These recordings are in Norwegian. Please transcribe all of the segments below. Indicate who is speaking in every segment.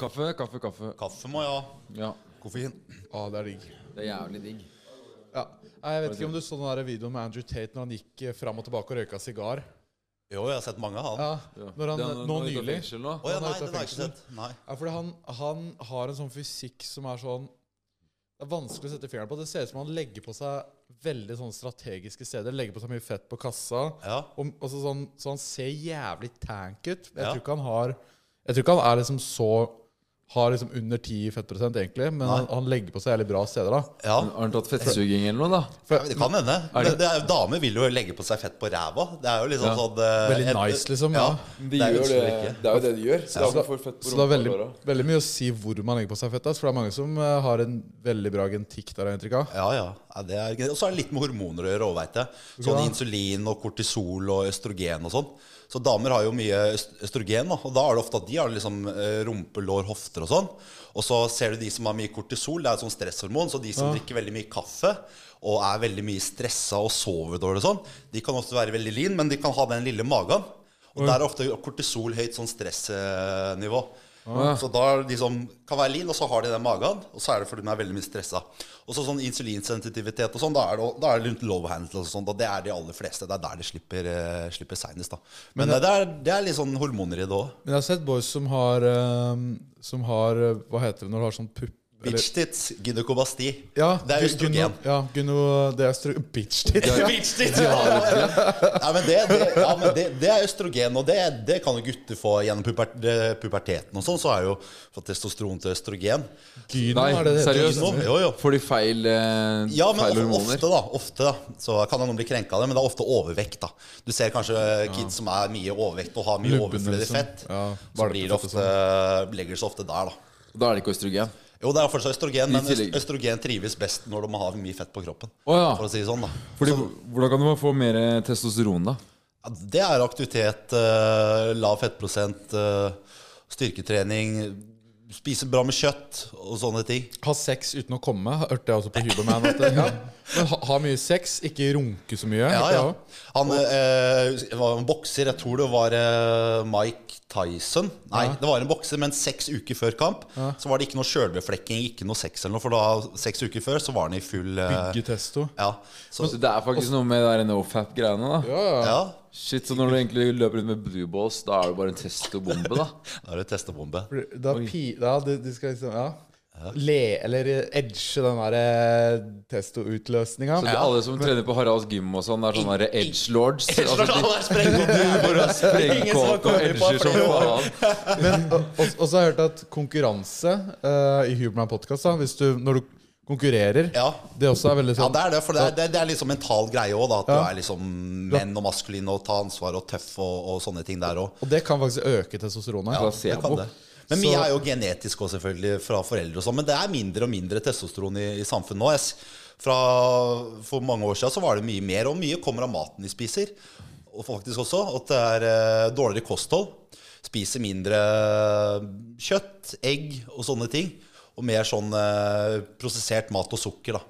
Speaker 1: Kaffe, kaffe, kaffe.
Speaker 2: Kaffe må jeg ha.
Speaker 1: Ja.
Speaker 2: Koffein.
Speaker 3: Ah, det er digg.
Speaker 4: Det er jævlig digg.
Speaker 3: Ja. Nei, Jeg vet ikke om du så den der videoen med Andrew Tate når han gikk eh, fram og tilbake og røyka sigar.
Speaker 2: Jo, jeg har sett mange av han.
Speaker 3: Ja, når han, eh,
Speaker 1: Den-
Speaker 3: nå
Speaker 1: den er ute av
Speaker 3: nylig.
Speaker 1: fengsel Nå.
Speaker 2: Å ja,
Speaker 3: Han er
Speaker 2: nei,
Speaker 3: ute av
Speaker 2: den har jeg ikke
Speaker 3: fengsel.
Speaker 2: sett. Nei.
Speaker 3: Ja, fordi han, han har en sånn fysikk som er sånn Det er vanskelig å sette fingeren på. Det ser ut som han legger på seg veldig sånn strategiske steder. Legger på seg mye fett på kassa.
Speaker 2: Ja.
Speaker 3: Og, og så, sånn, så han ser jævlig tank ut. Jeg
Speaker 2: Ja.
Speaker 3: tror ikke han har Jeg tror ikke han er liksom så Har liksom under 10 fettprosent, egentlig. Men han, han legger på seg jævlig bra steder, da.
Speaker 2: ja.
Speaker 1: Har han tatt fettsuging eller noe, da?
Speaker 2: Ja, men Det kan hende.
Speaker 1: Er det-
Speaker 2: Men det er, jo- damer vil jo legge på seg fett på ræva. Det er jo liksom
Speaker 1: Ja.
Speaker 2: sånn eh,
Speaker 3: Veldig
Speaker 2: et-
Speaker 3: nice, liksom, ja.
Speaker 2: Det er jo utrolig ikke.
Speaker 4: det er jo det de gjør. Så
Speaker 3: Så det,
Speaker 4: da får fett på
Speaker 3: så det er veldig,
Speaker 4: rumpa og
Speaker 3: veldig mye å si hvor man legger på seg fett. ass, For det er mange som eh, har en veldig bra genetikk der. har jeg inntrykk av.
Speaker 2: Ja, ja. ja det er, og så er det litt med hormoner å gjøre òg, veit jeg. Sånn
Speaker 3: Ja.
Speaker 2: insulin og kortisol og østrogen og sånn. Så damer har jo mye øst- østrogen, da. og da er det ofte at de har liksom eh, rumpe, lår, hofter og sånn. Og så ser du de som har mye kortisol, det er et sånt stresshormon. Så de som drikker veldig mye kaffe og er veldig mye stressa og sover dårlig og sånn, de kan ofte være veldig lean, men de kan ha den lille magen. Og der er ofte kortisol høyt sånn stressnivå. Så da er de som kan være lean, og så har de den magen, og så er det fordi de er veldig mye stressa. Og så sånn insulinsensitivitet og sånn, da er det, da er det rundt low handle og sånn, da det er de aller fleste. Det er der de slipper, eh, slipper seinest, da. Men, eh, det, er, det er litt sånn hormoner i det òg.
Speaker 3: Men jeg har sett boys som har, eh, som har eh, Hva heter det når du har sånn pupp... eller-
Speaker 2: Bitch tits, gynekobasti.
Speaker 3: Ja,
Speaker 2: det er
Speaker 3: gy-
Speaker 2: østrogen.
Speaker 3: gyno- Ja, gyno, det er østro... Bitch tits.
Speaker 2: Bitch tits! Nei, men det, det, ja, men det, det er østrogen, og det, det kan jo gutter få gjennom puber, eh, puberteten og sånn. Så er jo fra testosteron til østrogen.
Speaker 3: Gyno,
Speaker 1: Nei,
Speaker 3: er det det heter?
Speaker 1: seriøst?
Speaker 2: Nå, jo, jo.
Speaker 1: Får de feil, eh,
Speaker 2: Ja, men
Speaker 1: feil
Speaker 2: of-
Speaker 1: hormoner?
Speaker 2: ofte, da. Ofte, da. Så kan noen bli krenka av det, men det er ofte overvekt, da. Du ser kanskje eh, kids som er mye overvekt og har mye
Speaker 3: Lubben,
Speaker 2: overflødig
Speaker 3: liksom.
Speaker 2: fett.
Speaker 3: Ja,
Speaker 2: så blir det
Speaker 3: valpefett og
Speaker 2: ofte, legger det seg ofte der, da.
Speaker 4: Da er det ikke østrogen.
Speaker 2: Jo, det er fortsatt østrogen,
Speaker 1: I
Speaker 2: men øst-
Speaker 1: tillegg.
Speaker 2: østrogen trives best når de har mye fett på kroppen.
Speaker 1: Å, ja.
Speaker 2: For å si det sånn, da.
Speaker 1: Fordi, hvordan kan du få mer eh, testosteron, da?
Speaker 2: Ja, Det er aktivitet, eh, lav fettprosent, eh, styrketrening, spise bra med kjøtt og sånne ting.
Speaker 3: Ha sex uten å komme, hørte jeg også på Huberman. At det, ja. Men ha, ha mye sex, ikke runke så mye.
Speaker 2: Ja,
Speaker 3: hørte jeg
Speaker 2: ja.
Speaker 3: også.
Speaker 2: Han eh, var en bokser, jeg tror det var eh, Mike Tyson. Nei, det var en bokser, men seks uker før kamp så var det ikke noe sjølbeflekking, ikke noe sex eller noe, for da, seks uker før så var han i full eh,
Speaker 3: Bygge testo.
Speaker 2: Ja. Så,
Speaker 4: Så det er faktisk noe med det nofap-greiene, da.
Speaker 2: ja.
Speaker 4: Shit, så når du egentlig løper rundt med blue balls, da er det bare en testobombe, da.
Speaker 2: Da er det testebombe.
Speaker 3: Da pi... Ja, de, de skal liksom Ja. Le, eller edge den der eh, testo-utløsninga.
Speaker 4: Så det, alle som trener på Haralds gym og sånn, er sånne der edge lords. Altså, de
Speaker 2: Alle er sprengt!
Speaker 4: sprengkåte og edger som faen.
Speaker 3: Og, og så har jeg hørt at konkurranse eh, i Huberman Podcast, da, hvis du, når du konkurrerer,
Speaker 2: Ja.
Speaker 3: det også er veldig
Speaker 2: Ja,
Speaker 3: sånn
Speaker 2: det er det, for det er, det er- det er liksom mental greie òg, da. At
Speaker 3: Ja.
Speaker 2: du er liksom menn og maskulin og ta ansvar og tøff og, og sånne ting der òg.
Speaker 3: Og det kan faktisk øke testosteronet.
Speaker 2: Ja, det kan
Speaker 4: Placebo.
Speaker 2: det. Men mye
Speaker 3: Så-
Speaker 2: er jo genetisk òg, selvfølgelig, fra foreldre og sånn. Men det er mindre og mindre testosteron i, i samfunnet nå. Jeg s- Fra For mange år siden så var det mye mer, og mye kommer av maten de spiser. Og faktisk også at det er eh, dårligere kosthold. Spiser mindre eh, kjøtt, egg og sånne ting. Og mer sånn eh, prosessert mat og sukker, da.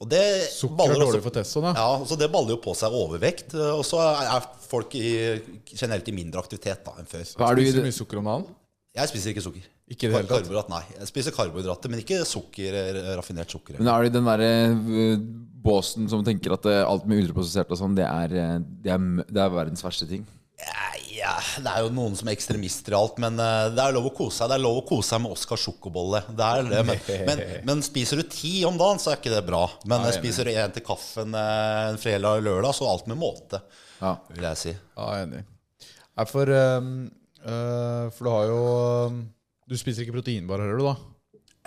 Speaker 2: Og det
Speaker 3: Sukker
Speaker 2: baller
Speaker 3: er
Speaker 2: også-
Speaker 3: dårlig for testoen, ja.
Speaker 2: ja, så Det baller jo på seg overvekt, eh, og så er er folk i, generelt i mindre aktivitet da enn før.
Speaker 4: Hva er du i
Speaker 3: Spiser
Speaker 4: det?
Speaker 3: mye sukker om dagen.
Speaker 2: Jeg spiser ikke sukker.
Speaker 3: Ikke i det hele tatt?
Speaker 2: Karbohydrat, nei. Jeg spiser karbohydrater, men ikke sukker, eh, raffinert sukker.
Speaker 4: Men er du i den derre eh, båsen som tenker at eh, alt med ultraprosessert og sånn, det er, eh, det, er, m- det er verdens verste ting?
Speaker 2: Nei, ja, det er jo noen som er ekstremister i alt, men eh, det er lov å kose seg. Det er lov å kose seg med Oscar sjokobolle. Det er det, men, men, men spiser du ti om dagen, så er ikke det bra. Men eh, spiser du en til kaffen eh, en fredag og lørdag, så alt med måte,
Speaker 4: Ja.
Speaker 2: vil jeg si.
Speaker 3: Ja, jeg er enig. Nei, for, ehm, eh, for du har jo ehm, Du spiser ikke proteinbar, hører du, da?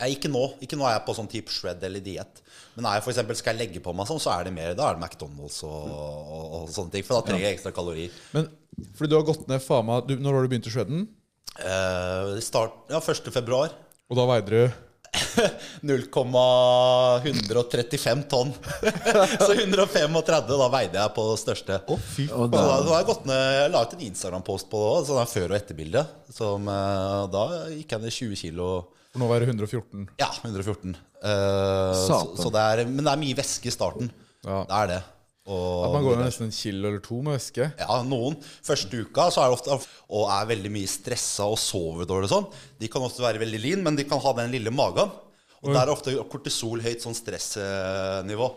Speaker 2: Jeg, ikke nå. Ikke nå er jeg på sånn type shred eller diett. Men er jeg for eksempel, skal jeg legge på meg sånn, så er det mer, da er det McDonald's og, og, og sånne ting. For da trenger jeg ekstra kalorier.
Speaker 3: Men fordi du har gått ned faen meg du- Når var det du begynte å shredden?
Speaker 2: Eh, start, ja, 1. februar.
Speaker 3: Og da veide du
Speaker 2: 0,135 tonn. så 135, da veide jeg på det største.
Speaker 3: Å, fy
Speaker 4: Og
Speaker 2: Så
Speaker 4: da,
Speaker 2: da, da har jeg gått ned, jeg la ut en Instagram-post på det også, sånn her før- og etterbilde. Som, eh, da gikk jeg ned 20 kilo.
Speaker 3: For nå veier du 114.
Speaker 2: Ja, 114. Eh, så,
Speaker 4: Satan.
Speaker 2: så det er, men det er mye væske i starten.
Speaker 3: Ja.
Speaker 2: Det er det. Og
Speaker 3: At man går ned nesten en kilo eller to med væske.
Speaker 2: Ja, noen. Første uka så er det ofte og er veldig mye stressa og sover dårlig og sånn. De kan ofte være veldig lean, men de kan ha den lille magen. Og der er ofte kortisol høyt sånn stressnivå.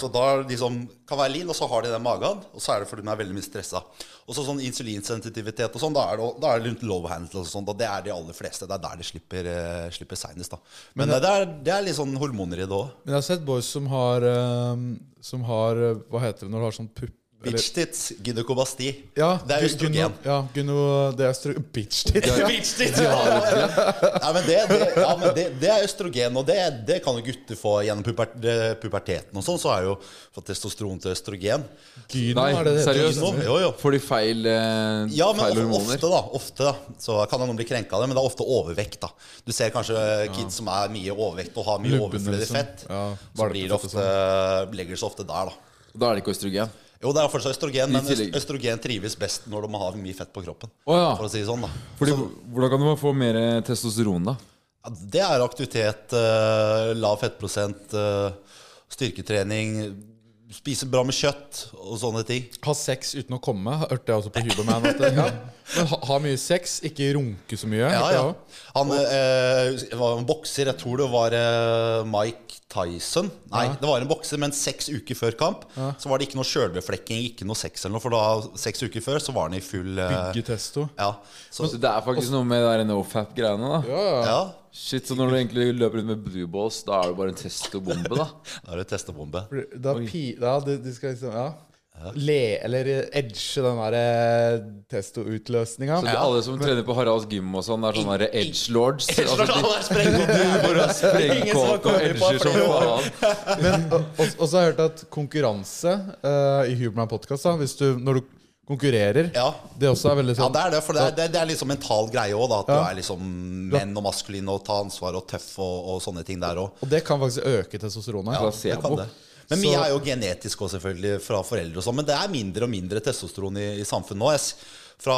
Speaker 2: Så da er de som kan være lean, og så har de den magen, og så er det fordi de er veldig mye stressa. Og så sånn insulinsensitivitet og sånn, da er det, da er det rundt low handle og sånn. Og det er de aller fleste. Det er der de slipper, eh, slipper seinest, da. Men, eh, det, er, det er litt sånn hormoner i det òg.
Speaker 3: Men jeg har sett boys som har, eh, som har eh, Hva heter det når du har sånn pupp? eller-
Speaker 2: Bitch tits, gynekobasti.
Speaker 3: Ja,
Speaker 2: det er
Speaker 3: gu-
Speaker 2: østrogen.
Speaker 3: gyno- Ja, gyno, det er østro... Bitch tits.
Speaker 2: Bitch tits! Nei, men det, det, ja, men det, det er østrogen, og det, det kan jo gutter få gjennom puber, eh, puberteten og sånn. Så er jo fra testosteron til østrogen.
Speaker 3: Gyno,
Speaker 1: Nei,
Speaker 3: er det det heter?
Speaker 1: seriøst?
Speaker 2: Nå, jo, jo.
Speaker 1: Får de feil, eh,
Speaker 2: Ja, men
Speaker 1: feil
Speaker 2: of-
Speaker 1: hormoner?
Speaker 2: ofte, da. Ofte, da. Så kan noen bli krenka av det, men det er ofte overvekt, da. Du ser kanskje kids som er mye overvekt og har mye
Speaker 3: Lubben,
Speaker 2: overflødig
Speaker 3: liksom.
Speaker 2: fett.
Speaker 3: Ja,
Speaker 2: så blir det
Speaker 3: valpefett og
Speaker 2: ofte, legger det seg ofte der, da.
Speaker 1: Da er det ikke østrogen.
Speaker 2: Jo, det er fortsatt østrogen, men
Speaker 1: tillegg.
Speaker 2: øst- østrogen trives best når de har mye fett på kroppen.
Speaker 1: Å ja.
Speaker 2: For å si det sånn, da.
Speaker 1: Fordi, hvordan kan man få mer eh, testosteron, da?
Speaker 2: Ja, det er aktivitet, eh, lav fettprosent, eh, styrketrening, spise bra med kjøtt og sånne ting.
Speaker 3: Ha sex uten å komme, hørte jeg også på Huberman. At det, ja. Men ha, ha mye sex, ikke runke så mye.
Speaker 2: Ja,
Speaker 3: hørte jeg
Speaker 2: ja.
Speaker 3: også.
Speaker 2: Han eh, var en bokser, jeg tror det var eh, Mike Tyson. Nei, det var en bokser, men seks uker før kamp så var det ikke noe sjølbeflekking, ikke noe sex eller noe, for da, seks uker før så var han i full eh,
Speaker 3: Bygge testo.
Speaker 2: Ja, så,
Speaker 1: Så det er faktisk noe med det nofap-greiene, da.
Speaker 3: Ja, ja.
Speaker 2: ja.
Speaker 1: Shit, Så når du egentlig løper rundt med blue balls, da er det bare en testobombe, da?
Speaker 2: Da er det testebombe.
Speaker 3: Da pi... Ja, de, de skal liksom Ja. Le, eller edge den der eh, testo-utløsninga.
Speaker 1: Så det er alle som trener på Haralds gym og sånn, det er sånne der edge lords. Altså, de sprengkåte og edger som faen.
Speaker 3: Men, og, og så har jeg hørt at konkurranse eh, i Huberman Podcast, da, hvis du, når du konkurrerer,
Speaker 2: Ja.
Speaker 3: det også er veldig
Speaker 2: Ja,
Speaker 3: sånn
Speaker 2: det er det, for det er, det, det er liksom mental greie òg, da. At
Speaker 3: Ja.
Speaker 2: du er liksom menn og maskulin og ta ansvar og tøff og, og sånne ting der òg.
Speaker 3: Og det kan faktisk øke testosteronet.
Speaker 1: Ja. placebo.
Speaker 2: Men mye
Speaker 3: Så-
Speaker 2: er jo genetisk òg, selvfølgelig, fra foreldre og sånn. Men det er mindre og mindre testosteron i, i samfunnet nå. Jeg s- Fra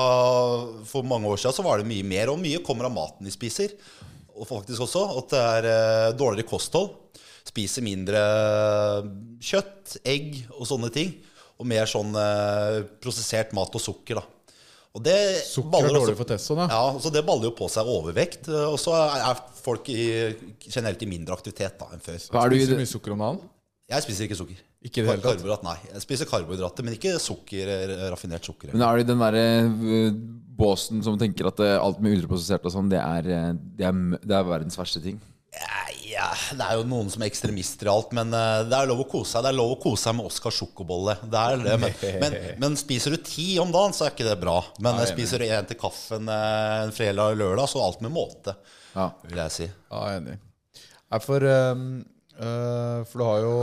Speaker 2: For mange år siden så var det mye mer, og mye kommer av maten vi spiser. Og faktisk også at det er eh, dårligere kosthold. Spiser mindre eh, kjøtt, egg og sånne ting. Og mer sånn eh, prosessert mat og sukker, da. Og det
Speaker 3: Sukker
Speaker 2: baller
Speaker 3: er
Speaker 2: også-
Speaker 3: dårlig for testoen, ja.
Speaker 2: ja, så Det baller jo på seg overvekt, eh, og så er folk i, generelt i mindre aktivitet da enn før.
Speaker 1: Hva er du i
Speaker 3: Spiser du
Speaker 1: det?
Speaker 3: mye sukker om dagen?
Speaker 2: Jeg spiser ikke sukker.
Speaker 3: Ikke i det hele tatt?
Speaker 2: Karbohydrat, nei. Jeg spiser karbohydrater, men ikke sukker, eh, raffinert sukker.
Speaker 1: Men er du i den derre eh, båsen som tenker at eh, alt med ultraprosessert og sånn, det er, eh, det, er, m- det er verdens verste ting?
Speaker 2: Nei, ja, det er jo noen som er ekstremister i alt, men eh, det er lov å kose seg. Det er lov å kose seg med Oscar sjokobolle. Det er det, men, men, men spiser du ti om dagen, så er ikke det bra. Men eh, spiser du en til kaffen eh, en fredag og lørdag, så alt med måte,
Speaker 1: Ja.
Speaker 2: vil jeg si.
Speaker 3: Ja, jeg er enig. Nei, for, ehm, eh, for du har jo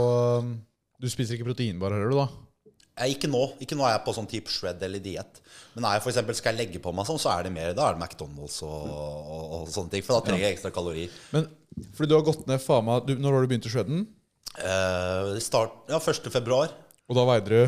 Speaker 3: ehm, Du spiser ikke proteinbar heller, du, da?
Speaker 2: Nei, ikke nå. Ikke nå er jeg på sånn type shred eller diett. Men er jeg for eksempel, skal jeg legge på meg sånn, så er det mer. Da er det McDonald's og, og, og sånne ting. For da trenger jeg ekstra kalori.
Speaker 3: Men fordi du har gått ned faen meg du, Når var du begynt i shredden?
Speaker 2: Eh, start Ja, 1. februar.
Speaker 3: Og da veide du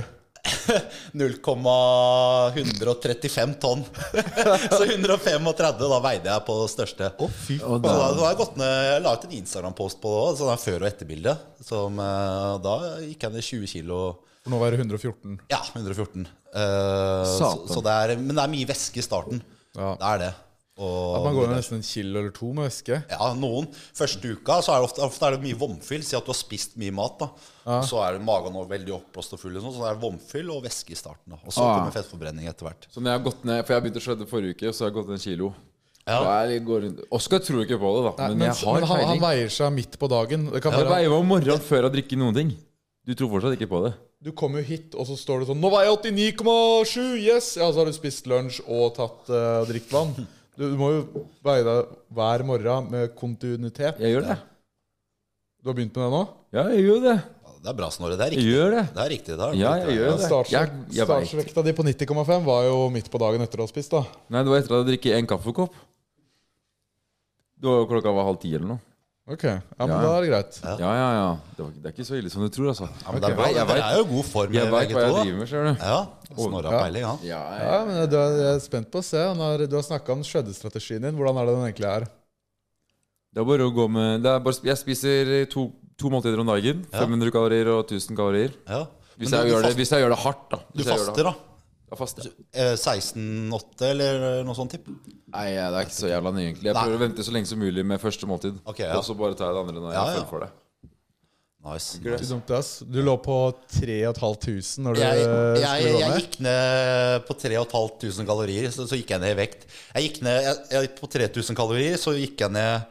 Speaker 2: 0,135 tonn. så 135, da veide jeg på det største.
Speaker 3: Å, fy
Speaker 1: Og
Speaker 2: Så
Speaker 1: da,
Speaker 2: da, da har jeg gått ned Jeg la ut en Instagram-post på det òg, sånn der før- og etterbilde. Som eh, Da gikk jeg ned 20 kilo.
Speaker 3: For nå veier du 114.
Speaker 2: Ja, 114. Eh, så,
Speaker 1: Satan.
Speaker 2: så det er, men det er mye væske i starten.
Speaker 3: Ja.
Speaker 2: Det er det. Og,
Speaker 3: At man går ned nesten en kilo eller to med væske.
Speaker 2: Ja, noen. Første uka så er det ofte, ofte er det mye vomfyll. Si at du har spist mye mat. da. Så er det magen nå veldig oppblåst og full. og Sånn, så det er vomfyll og væske i starten. da. Og så
Speaker 1: Ah.
Speaker 2: kommer fettforbrenning etter hvert.
Speaker 1: så når jeg har gått ned, For jeg begynte å shredde forrige uke, så har jeg gått ned en kilo.
Speaker 2: Ja.
Speaker 1: Og jeg går rundt- Oskar tror ikke på det, da.
Speaker 3: Nei,
Speaker 1: men, jeg har
Speaker 3: men han, han
Speaker 1: peiling.
Speaker 3: veier seg midt på dagen. Det kan
Speaker 1: Jeg
Speaker 3: være,
Speaker 1: veiva om morgenen før jeg drikker noen ting. Du tror fortsatt ikke på det?
Speaker 3: du kommer jo hit, og så står det sånn 'Nå veier jeg 89,7! Yes!' Ja, så har du spist lunsj og tatt eh, og drikket vann. Du, du må jo veie deg hver morgen med kontinuitet.
Speaker 1: Jeg gjør det.
Speaker 3: Du har begynt med det nå?
Speaker 1: Ja, jeg gjør det.
Speaker 2: Ja, Det er bra, Snorre. Det er
Speaker 1: Jeg
Speaker 2: riktig.
Speaker 1: gjør det.
Speaker 2: Det er riktig, det er
Speaker 1: Ja,
Speaker 2: riktig.
Speaker 1: jeg gjør det. Jeg,
Speaker 3: Startsvek-
Speaker 1: jeg vet.
Speaker 3: Startsvekta di på 90,5 var jo midt på dagen etter å ha spist, da.
Speaker 1: Nei, det var etter at jeg drikket en kaffekopp. Det var klokka var halv ti eller noe.
Speaker 3: Ok, ja, men
Speaker 1: Ja, ja.
Speaker 3: da er det greit.
Speaker 1: Ja, ja, ja. Det, var, det er ikke så ille som du tror, altså.
Speaker 2: Ja, men det er
Speaker 1: Ok.
Speaker 2: bra.
Speaker 1: Jeg
Speaker 2: Dere
Speaker 1: vet-
Speaker 2: er jo i god form,
Speaker 1: Jeg veit
Speaker 2: begge
Speaker 1: hva jeg
Speaker 2: to. da.
Speaker 1: driver med, ser du.
Speaker 2: Ja, Snorre har peiling, han.
Speaker 1: Ja,
Speaker 3: Ja, men jeg, jeg er spent på å se. Når du har snakka om shreddestrategien din. Hvordan er det den egentlig er?
Speaker 1: Det er bare å gå med det er bare, Jeg spiser to, to måltider om dagen.
Speaker 2: Ja.
Speaker 1: 500 kalorier og 1000 kalorier.
Speaker 2: Ja.
Speaker 1: Hvis
Speaker 2: Men
Speaker 1: jeg,
Speaker 2: du-
Speaker 1: gjør
Speaker 2: du
Speaker 1: det, hvis jeg gjør det hardt, da.
Speaker 2: Du
Speaker 1: Hvis jeg gjør det
Speaker 2: faster, da?
Speaker 1: hardt. Jeg faster.
Speaker 2: Eh, 16-8 eller noe sånt, tipp?
Speaker 1: Nei, det er ikke så jævla nøye, egentlig. Jeg
Speaker 2: Nei.
Speaker 1: prøver å vente så lenge som mulig med første måltid.
Speaker 2: Ok, ja.
Speaker 1: Og så bare tar jeg det andre når jeg
Speaker 2: Ja,
Speaker 1: føler
Speaker 2: ja.
Speaker 1: for det.
Speaker 2: Nice.
Speaker 3: Du dumt, ass. Du lå på 3500 når du
Speaker 2: Jeg,
Speaker 3: eh,
Speaker 2: jeg,
Speaker 3: skulle gå
Speaker 2: jeg
Speaker 3: ned.
Speaker 2: gikk ned på 3500 kalorier, så, så gikk jeg ned i vekt. Jeg gikk ned jeg, jeg, På 3000 kalorier så gikk jeg ned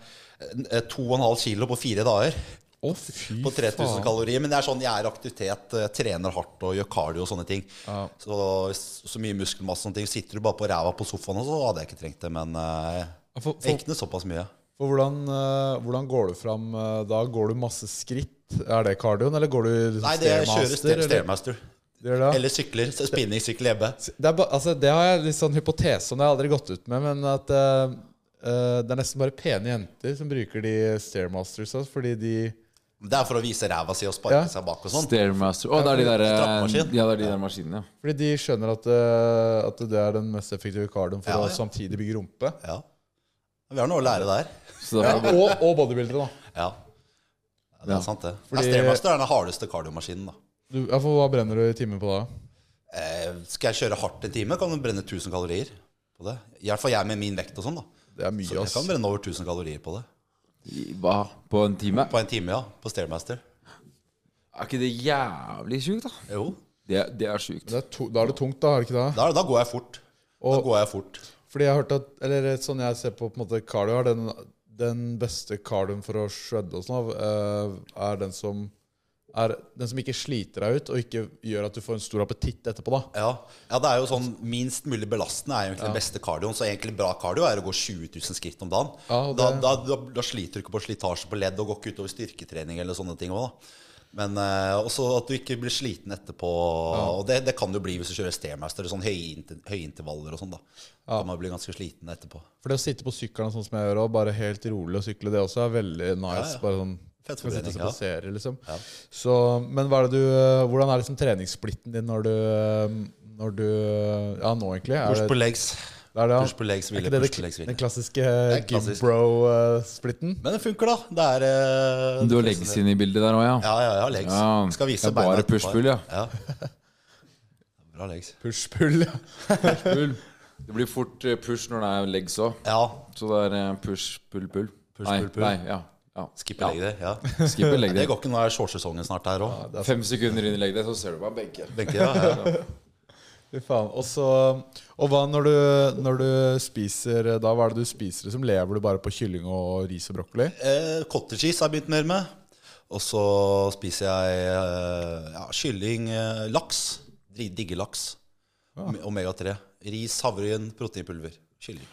Speaker 2: eh, 2,5 kilo på fire dager.
Speaker 3: Å, fy
Speaker 2: På 3000
Speaker 3: faen.
Speaker 2: kalorier. Men det er sånn, jeg er i aktivitet, eh, trener hardt og gjør cardio og sånne ting. Så, så mye muskelmasse og sånne ting. Sitter du bare på ræva på sofaen, og så hadde jeg ikke trengt det. Men eh,
Speaker 3: Ja, for-
Speaker 2: jeg gikk ned såpass mye.
Speaker 3: For hvordan, eh, hvordan går du fram eh, da? Går du masse skritt? Er det kardioen, eller går du liksom
Speaker 2: Nei, det jeg kjører
Speaker 3: stairmaster, eller-
Speaker 2: stairmaster.
Speaker 3: Det gjør det, ja.
Speaker 2: Eller sykler. så Spinningsykkel hjemme.
Speaker 3: Det, er ba, altså, det har jeg litt sånn hypotese om, det har jeg aldri gått ut med, men at eh, eh, det er nesten bare pene jenter som bruker de stairmastersa, fordi de
Speaker 2: Det er for å vise ræva si og
Speaker 3: Ja.
Speaker 2: sparke seg bak og sånn.
Speaker 1: Stairmaster Å, det er de der, eh,
Speaker 2: Trappemaskin.
Speaker 1: ja, det er de der maskinene, ja.
Speaker 3: fordi de skjønner at, eh, at det er den mest effektive kardioen for
Speaker 2: Ja, ja.
Speaker 3: å samtidig bygge rumpe.
Speaker 2: Ja. Vi har noe å lære der.
Speaker 1: Så
Speaker 3: Ja,
Speaker 1: derfor
Speaker 3: og, og bodybuildere, da.
Speaker 2: Ja. Ja, Det
Speaker 1: Ja.
Speaker 2: er sant, det.
Speaker 3: Fordi-
Speaker 2: Ja, Stairmaster er den hardeste kardiomaskinen, da.
Speaker 3: Du, ja, for hva brenner du i timen på da?
Speaker 2: Eh, skal jeg kjøre hardt en time, kan du brenne 1000 kalorier på det. I hvert fall jeg med min vekt og sånn, da.
Speaker 3: Det er mye,
Speaker 2: Så jeg
Speaker 3: ass.
Speaker 2: kan brenne over 1000 kalorier på det.
Speaker 1: I- Hva? På en time?
Speaker 2: På en time, ja. På Stairmaster.
Speaker 1: Er ikke det jævlig sjukt, da?
Speaker 2: Jo.
Speaker 1: Det, det er sjukt.
Speaker 3: Det er to, da er det tungt, da, er det ikke det?
Speaker 2: Da, da går jeg fort. Da
Speaker 3: Og-
Speaker 2: går jeg fort.
Speaker 3: Fordi jeg har hørt at Eller sånn jeg ser på, på en måte cardio, er den, den beste cardioen for å shredde og sånn, eh, er den som er den som ikke sliter deg ut, og ikke gjør at du får en stor appetitt etterpå, da.
Speaker 2: Ja. ja, det er jo sånn minst mulig belastende er jo egentlig den beste kardioen. Så egentlig bra kardio er å gå 20 000 skritt om dagen.
Speaker 3: Ja, og
Speaker 2: da,
Speaker 3: det-
Speaker 2: da, da, da sliter du ikke på slitasje på ledd og går ikke utover styrketrening eller sånne ting òg, da. Men eh, også at du ikke blir sliten etterpå. Og det, det kan du bli hvis du kjører stairmaster eller sånn høyinter- høyintervaller og sånn, da. Da kan man bli ganske sliten etterpå.
Speaker 3: For det å sitte på sykkelen sånn som jeg gjør, og bare helt rolig og sykle, det også er veldig nice.
Speaker 2: Ja, ja.
Speaker 3: Bare sånn
Speaker 2: Fett
Speaker 3: kan sitte
Speaker 2: forbrenning,
Speaker 3: og se
Speaker 2: ja.
Speaker 3: på serier, liksom. Så, men hva er det du, hvordan er liksom treningssplitten din når du, eh, når du eh, Ja, nå, egentlig? Er
Speaker 2: Push
Speaker 3: det,
Speaker 2: på legs.
Speaker 3: det er det, ja.
Speaker 2: Push på legs,
Speaker 3: er
Speaker 2: hvile,
Speaker 3: ikke det
Speaker 2: push på
Speaker 3: det,
Speaker 2: legs, hvile.
Speaker 3: den klassiske eh,
Speaker 2: er klassisk.
Speaker 3: gimbro-splitten?
Speaker 2: Men det funker, da. Det er eh,
Speaker 1: Du har
Speaker 2: det
Speaker 1: legs inn i bildet der òg, ja?
Speaker 2: Ja, ja, ja, legs.
Speaker 1: Ja,
Speaker 2: Skal
Speaker 1: det
Speaker 2: vise
Speaker 1: er bare
Speaker 2: beina etterpå.
Speaker 1: push-pull, ja.
Speaker 2: Bra legs.
Speaker 3: Push-pull, ja.
Speaker 1: Pull. Det blir fort eh, push når det er legs òg.
Speaker 2: Ja.
Speaker 1: Så det er eh, push, pull, pull.
Speaker 2: Push,
Speaker 1: nei,
Speaker 2: pull, pull.
Speaker 1: Nei, ja. ja.
Speaker 2: Skippe ja. legg der. Ja.
Speaker 1: ja. Skipper
Speaker 2: Nei,
Speaker 1: legg
Speaker 2: Det
Speaker 1: day.
Speaker 2: går ikke, nå er shortsesongen snart her òg.
Speaker 1: Fem sekunder inn i legg day, så ser du bare begge.
Speaker 2: Benke, ja, ja.
Speaker 3: Fy faen. Og så Og hva når du, når du spiser Da, hva er det du spiser? Liksom? Lever du bare på kylling og ris og brokkoli?
Speaker 2: Eh, Cottage cheese har jeg begynt mer med. Og så spiser jeg eh, ja, kylling, eh, laks. Dri- Digger laks. Ome- Omega-3. Ris, havregryn, proteinpulver. Kylling.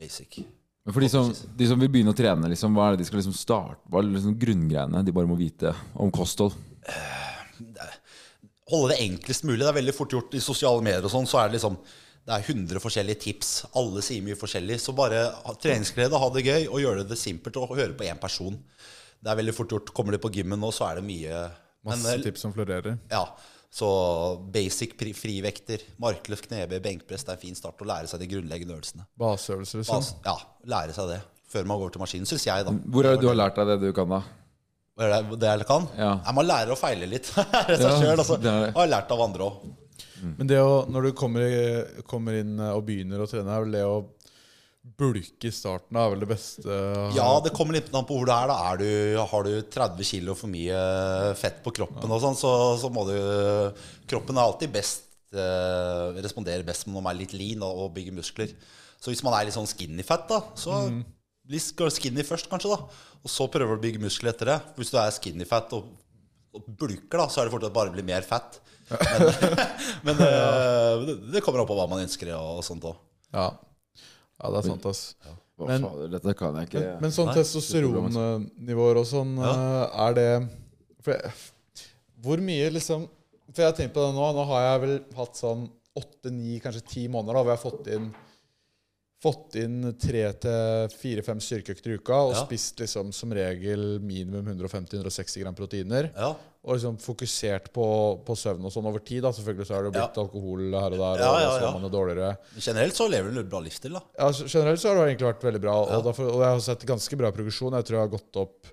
Speaker 2: Basic.
Speaker 1: Men for de som, de som vil begynne å trene, liksom, hva er det de skal liksom starte Hva er liksom grunngreiene de bare må vite om kosthold?
Speaker 2: holde det enklest mulig. Det er veldig fort gjort i sosiale medier og sånn. Så er det liksom det er 100 forskjellige tips. Alle sier mye forskjellig. Så bare ha treningsglede, ha det gøy, og gjøre det simpelt. Og høre på én person. Det er veldig fort gjort. Kommer de på gymmen nå, så er det mye men, eh,
Speaker 3: Masse tips som florerer.
Speaker 2: Ja. Så basic pri- frivekter, markløft, knebøy, benkpress. Det er en fin start å lære seg de grunnleggende øvelsene.
Speaker 3: Baseøvelser,
Speaker 1: Sånn.
Speaker 3: liksom.
Speaker 2: Altså, ja, lære seg det før man går til maskinen, syns jeg, da.
Speaker 1: Hvor er det du har lært deg det du kan, da?
Speaker 2: Hva er Det, det jeg kan?
Speaker 1: Ja.
Speaker 2: Nei, man lærer å feile litt. det er seg
Speaker 1: Ja,
Speaker 2: selv, altså.
Speaker 1: det er det.
Speaker 2: Og har lært av andre òg.
Speaker 3: Men det å, når du kommer, i- kommer inn og begynner å trene, er vel det å bulke i starten er vel det beste
Speaker 2: Ja, det kommer litt an på hvor du er. da er du, Har du 30 kilo for mye fett på kroppen, og sånn, så, så må du Kroppen er alltid best eh, responderer best når man er litt lean og, og bygger muskler. Så hvis man er litt sånn skinny fat, da, så bli sk- skinny først, kanskje, da. Og så prøver du å bygge muskler etter det. Hvis du er skinny fat og, og bulker, da, så er det fortsatt bare å bli mer fett. Men, men eh, det, det kommer an på hva man ønsker og, og sånt òg.
Speaker 3: Ja. ja, det er sant, ass.
Speaker 1: Hva
Speaker 3: Men-
Speaker 1: fader, dette kan jeg ikke.
Speaker 3: Men, men sånn testosteronnivåer og sånn, eh, er det for jeg, Hvor mye liksom For jeg har tenkt på det nå. Nå har jeg vel hatt sånn åtte-ni, kanskje ti måneder da, hvor jeg har fått inn Fått inn tre til fire-fem styrkeøkter i uka og
Speaker 2: Ja.
Speaker 3: spist liksom som regel minimum 150-160 gram proteiner.
Speaker 2: Ja.
Speaker 3: Og liksom fokusert på, på søvn og sånn over tid. da Selvfølgelig så er det jo blitt alkohol her og der,
Speaker 2: Ja,
Speaker 3: og
Speaker 2: ja,
Speaker 3: så
Speaker 2: ja.
Speaker 3: er man jo dårligere.
Speaker 2: Generelt så lever du en bra livsstil, da.
Speaker 3: Ja, så generelt så har det egentlig vært veldig bra, og, derfor, og jeg har sett ganske bra progresjon. Jeg tror jeg har gått opp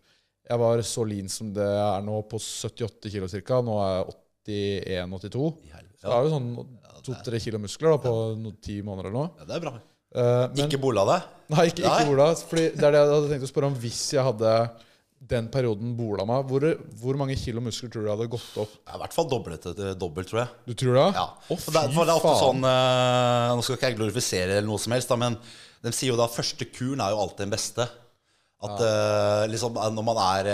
Speaker 3: Jeg var så lean som det jeg er nå, på 78 kilo ca. Nå er jeg 81-82. Så
Speaker 2: Ja.
Speaker 3: er det sånn to-tre kilo muskler da, på no- ti måneder eller noe.
Speaker 2: Ja, det er bra.
Speaker 3: Eh, men,
Speaker 2: Ikke bola deg?
Speaker 3: Nei, ikke,
Speaker 2: Nei.
Speaker 3: ikke bola. Fordi det er det jeg hadde tenkt å spørre om hvis jeg hadde den perioden bola meg. Hvor, hvor mange kilo muskler tror du jeg hadde gått opp?
Speaker 2: Ja, I hvert fall doblet det til dobbelt, tror jeg.
Speaker 3: Du tror det?
Speaker 2: Ja.
Speaker 3: Å,
Speaker 2: for det, er- for det er ofte sånn eh, Nå skal ikke jeg glorifisere eller noe som helst, da, men de sier jo da første kuren er jo alltid den beste. At eh, liksom eh, når man er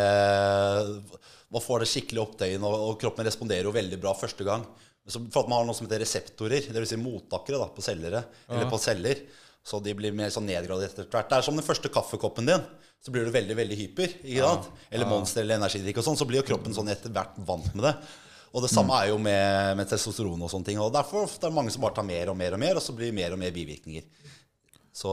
Speaker 2: eh, Man får det skikkelig opptøyen, og, og kroppen responderer jo veldig bra første gang. Men så, for at man har noe som heter reseptorer, dvs. Si mottakere da, på cellere, eller på celler. Så de blir mer sånn nedgradert etter hvert. Det er som den første kaffekoppen din. Så blir du veldig veldig hyper. ikke sant? Eller monster eller energidrikk og sånn. Så blir jo kroppen sånn etter hvert vant med det. Og det
Speaker 3: Mm.
Speaker 2: samme er jo med, med testosteron og sånne ting. Og derfor ofte er det mange som bare tar mer og mer og mer, og så blir det mer og mer bivirkninger. Så,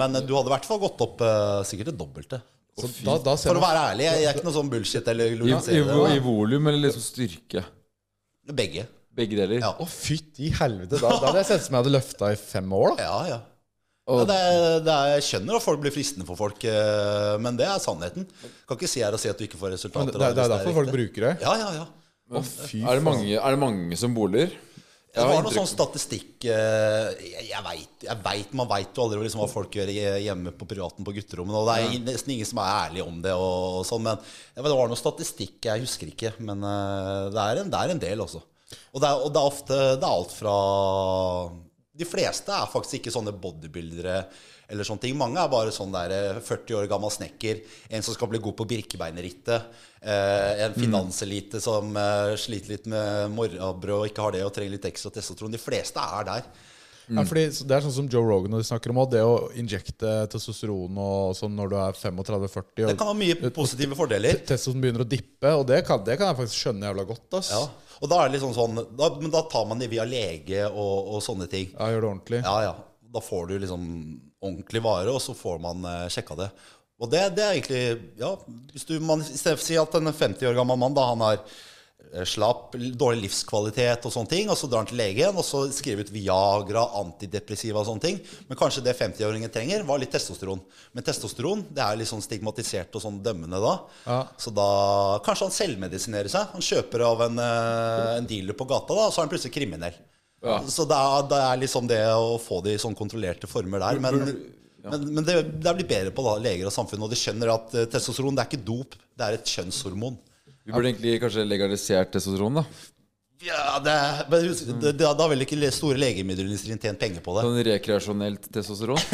Speaker 2: men eh, du hadde i hvert fall gått opp eh, sikkert det dobbelte.
Speaker 3: Så da, da ser
Speaker 2: For å
Speaker 3: man
Speaker 2: være ærlig, jeg, jeg er ikke noe sånn bullshit eller
Speaker 1: I, i,
Speaker 2: glorifisere
Speaker 1: vo-
Speaker 2: det.
Speaker 1: I volum eller liksom styrke?
Speaker 2: da. Begge.
Speaker 1: Begge deler.
Speaker 2: Ja.
Speaker 3: Å, fytti helvete! Da, da hadde jeg sett ut som jeg hadde løfta i fem år. da
Speaker 2: Ja, ja.
Speaker 1: Og-
Speaker 2: ja det er, det er, jeg skjønner at folk blir fristende for folk, eh, men det er sannheten. Kan ikke si her og si at du ikke får
Speaker 3: Men
Speaker 2: resultater.
Speaker 3: det, det,
Speaker 2: hvis
Speaker 3: er derfor folk
Speaker 2: riktig.
Speaker 3: bruker det.
Speaker 2: Ja, ja, ja.
Speaker 3: Å, fy
Speaker 1: Er, det mange, er det mange som boler? Jeg
Speaker 2: Det
Speaker 1: har
Speaker 2: var noe sånn
Speaker 1: inntrykk-
Speaker 2: statistikk eh, Jeg, jeg veit jeg vet, Man veit jo aldri liksom, hva folk gjør i- hjemme på privaten på gutterommet. Og det er nesten ingen som er ærlig om det. Og, og sånn, men ja, men det var noe statistikk, jeg husker ikke. Men eh, det, er en, det er en del, altså. Og det er, og det er ofte Det er alt fra De fleste er faktisk ikke sånne bodybuildere. Eller sånne ting. Mange er bare sånn der eh, 40 år gammel snekker, en som skal bli god på birkebeinerrittet, eh, en finanselite som eh, sliter litt med morrabrød og ikke har det og trenger litt ekstra testosteron. De fleste er der.
Speaker 3: Ja, fordi så- Det er sånn som Joe Rogan og de snakker om også, det å injekte testosteron og sånn når du er 35-40.
Speaker 2: Det
Speaker 3: og
Speaker 2: kan ha mye positive fordeler.
Speaker 3: Testosteron begynner å dippe, og det kan, det kan jeg faktisk skjønne jævla godt. ass
Speaker 2: Ja. Og da er det liksom sånn da, Men da tar man det via lege og, og sånne ting.
Speaker 3: Ja, gjør det ordentlig.
Speaker 2: Ja, ja. Da får du liksom ordentlig vare, og så får man eh, sjekka det. Og det, det er egentlig Ja, hvis du man, i stedet for å si at en 50 år gammel mann da, han har eh, slapp, l- dårlig livskvalitet og sånne ting, og så drar han til legen, og så skriver ut Viagra, antidepressiva og sånne ting. Men kanskje det 50-åringen trenger, var litt testosteron. Men testosteron det er litt sånn stigmatisert og sånn dømmende da.
Speaker 3: Ja.
Speaker 2: Så da kanskje han selvmedisinerer seg. Han kjøper av en, eh, en dealer på gata, da, og så er han plutselig kriminell. Så det er, det er liksom det å få det i sånn kontrollerte former der. Men, men, men det, det er blitt bedre på da, leger og samfunn, og de skjønner at eh, testosteron det er ikke dop, det er et kjønnshormon.
Speaker 1: Vi burde egentlig kanskje legalisert testosteron, da.
Speaker 2: Ja, det, men husk, det, da da vil ikke le- store legemiddelindustrien tjent penger på det.
Speaker 1: Sånn rekreasjonelt testosteron.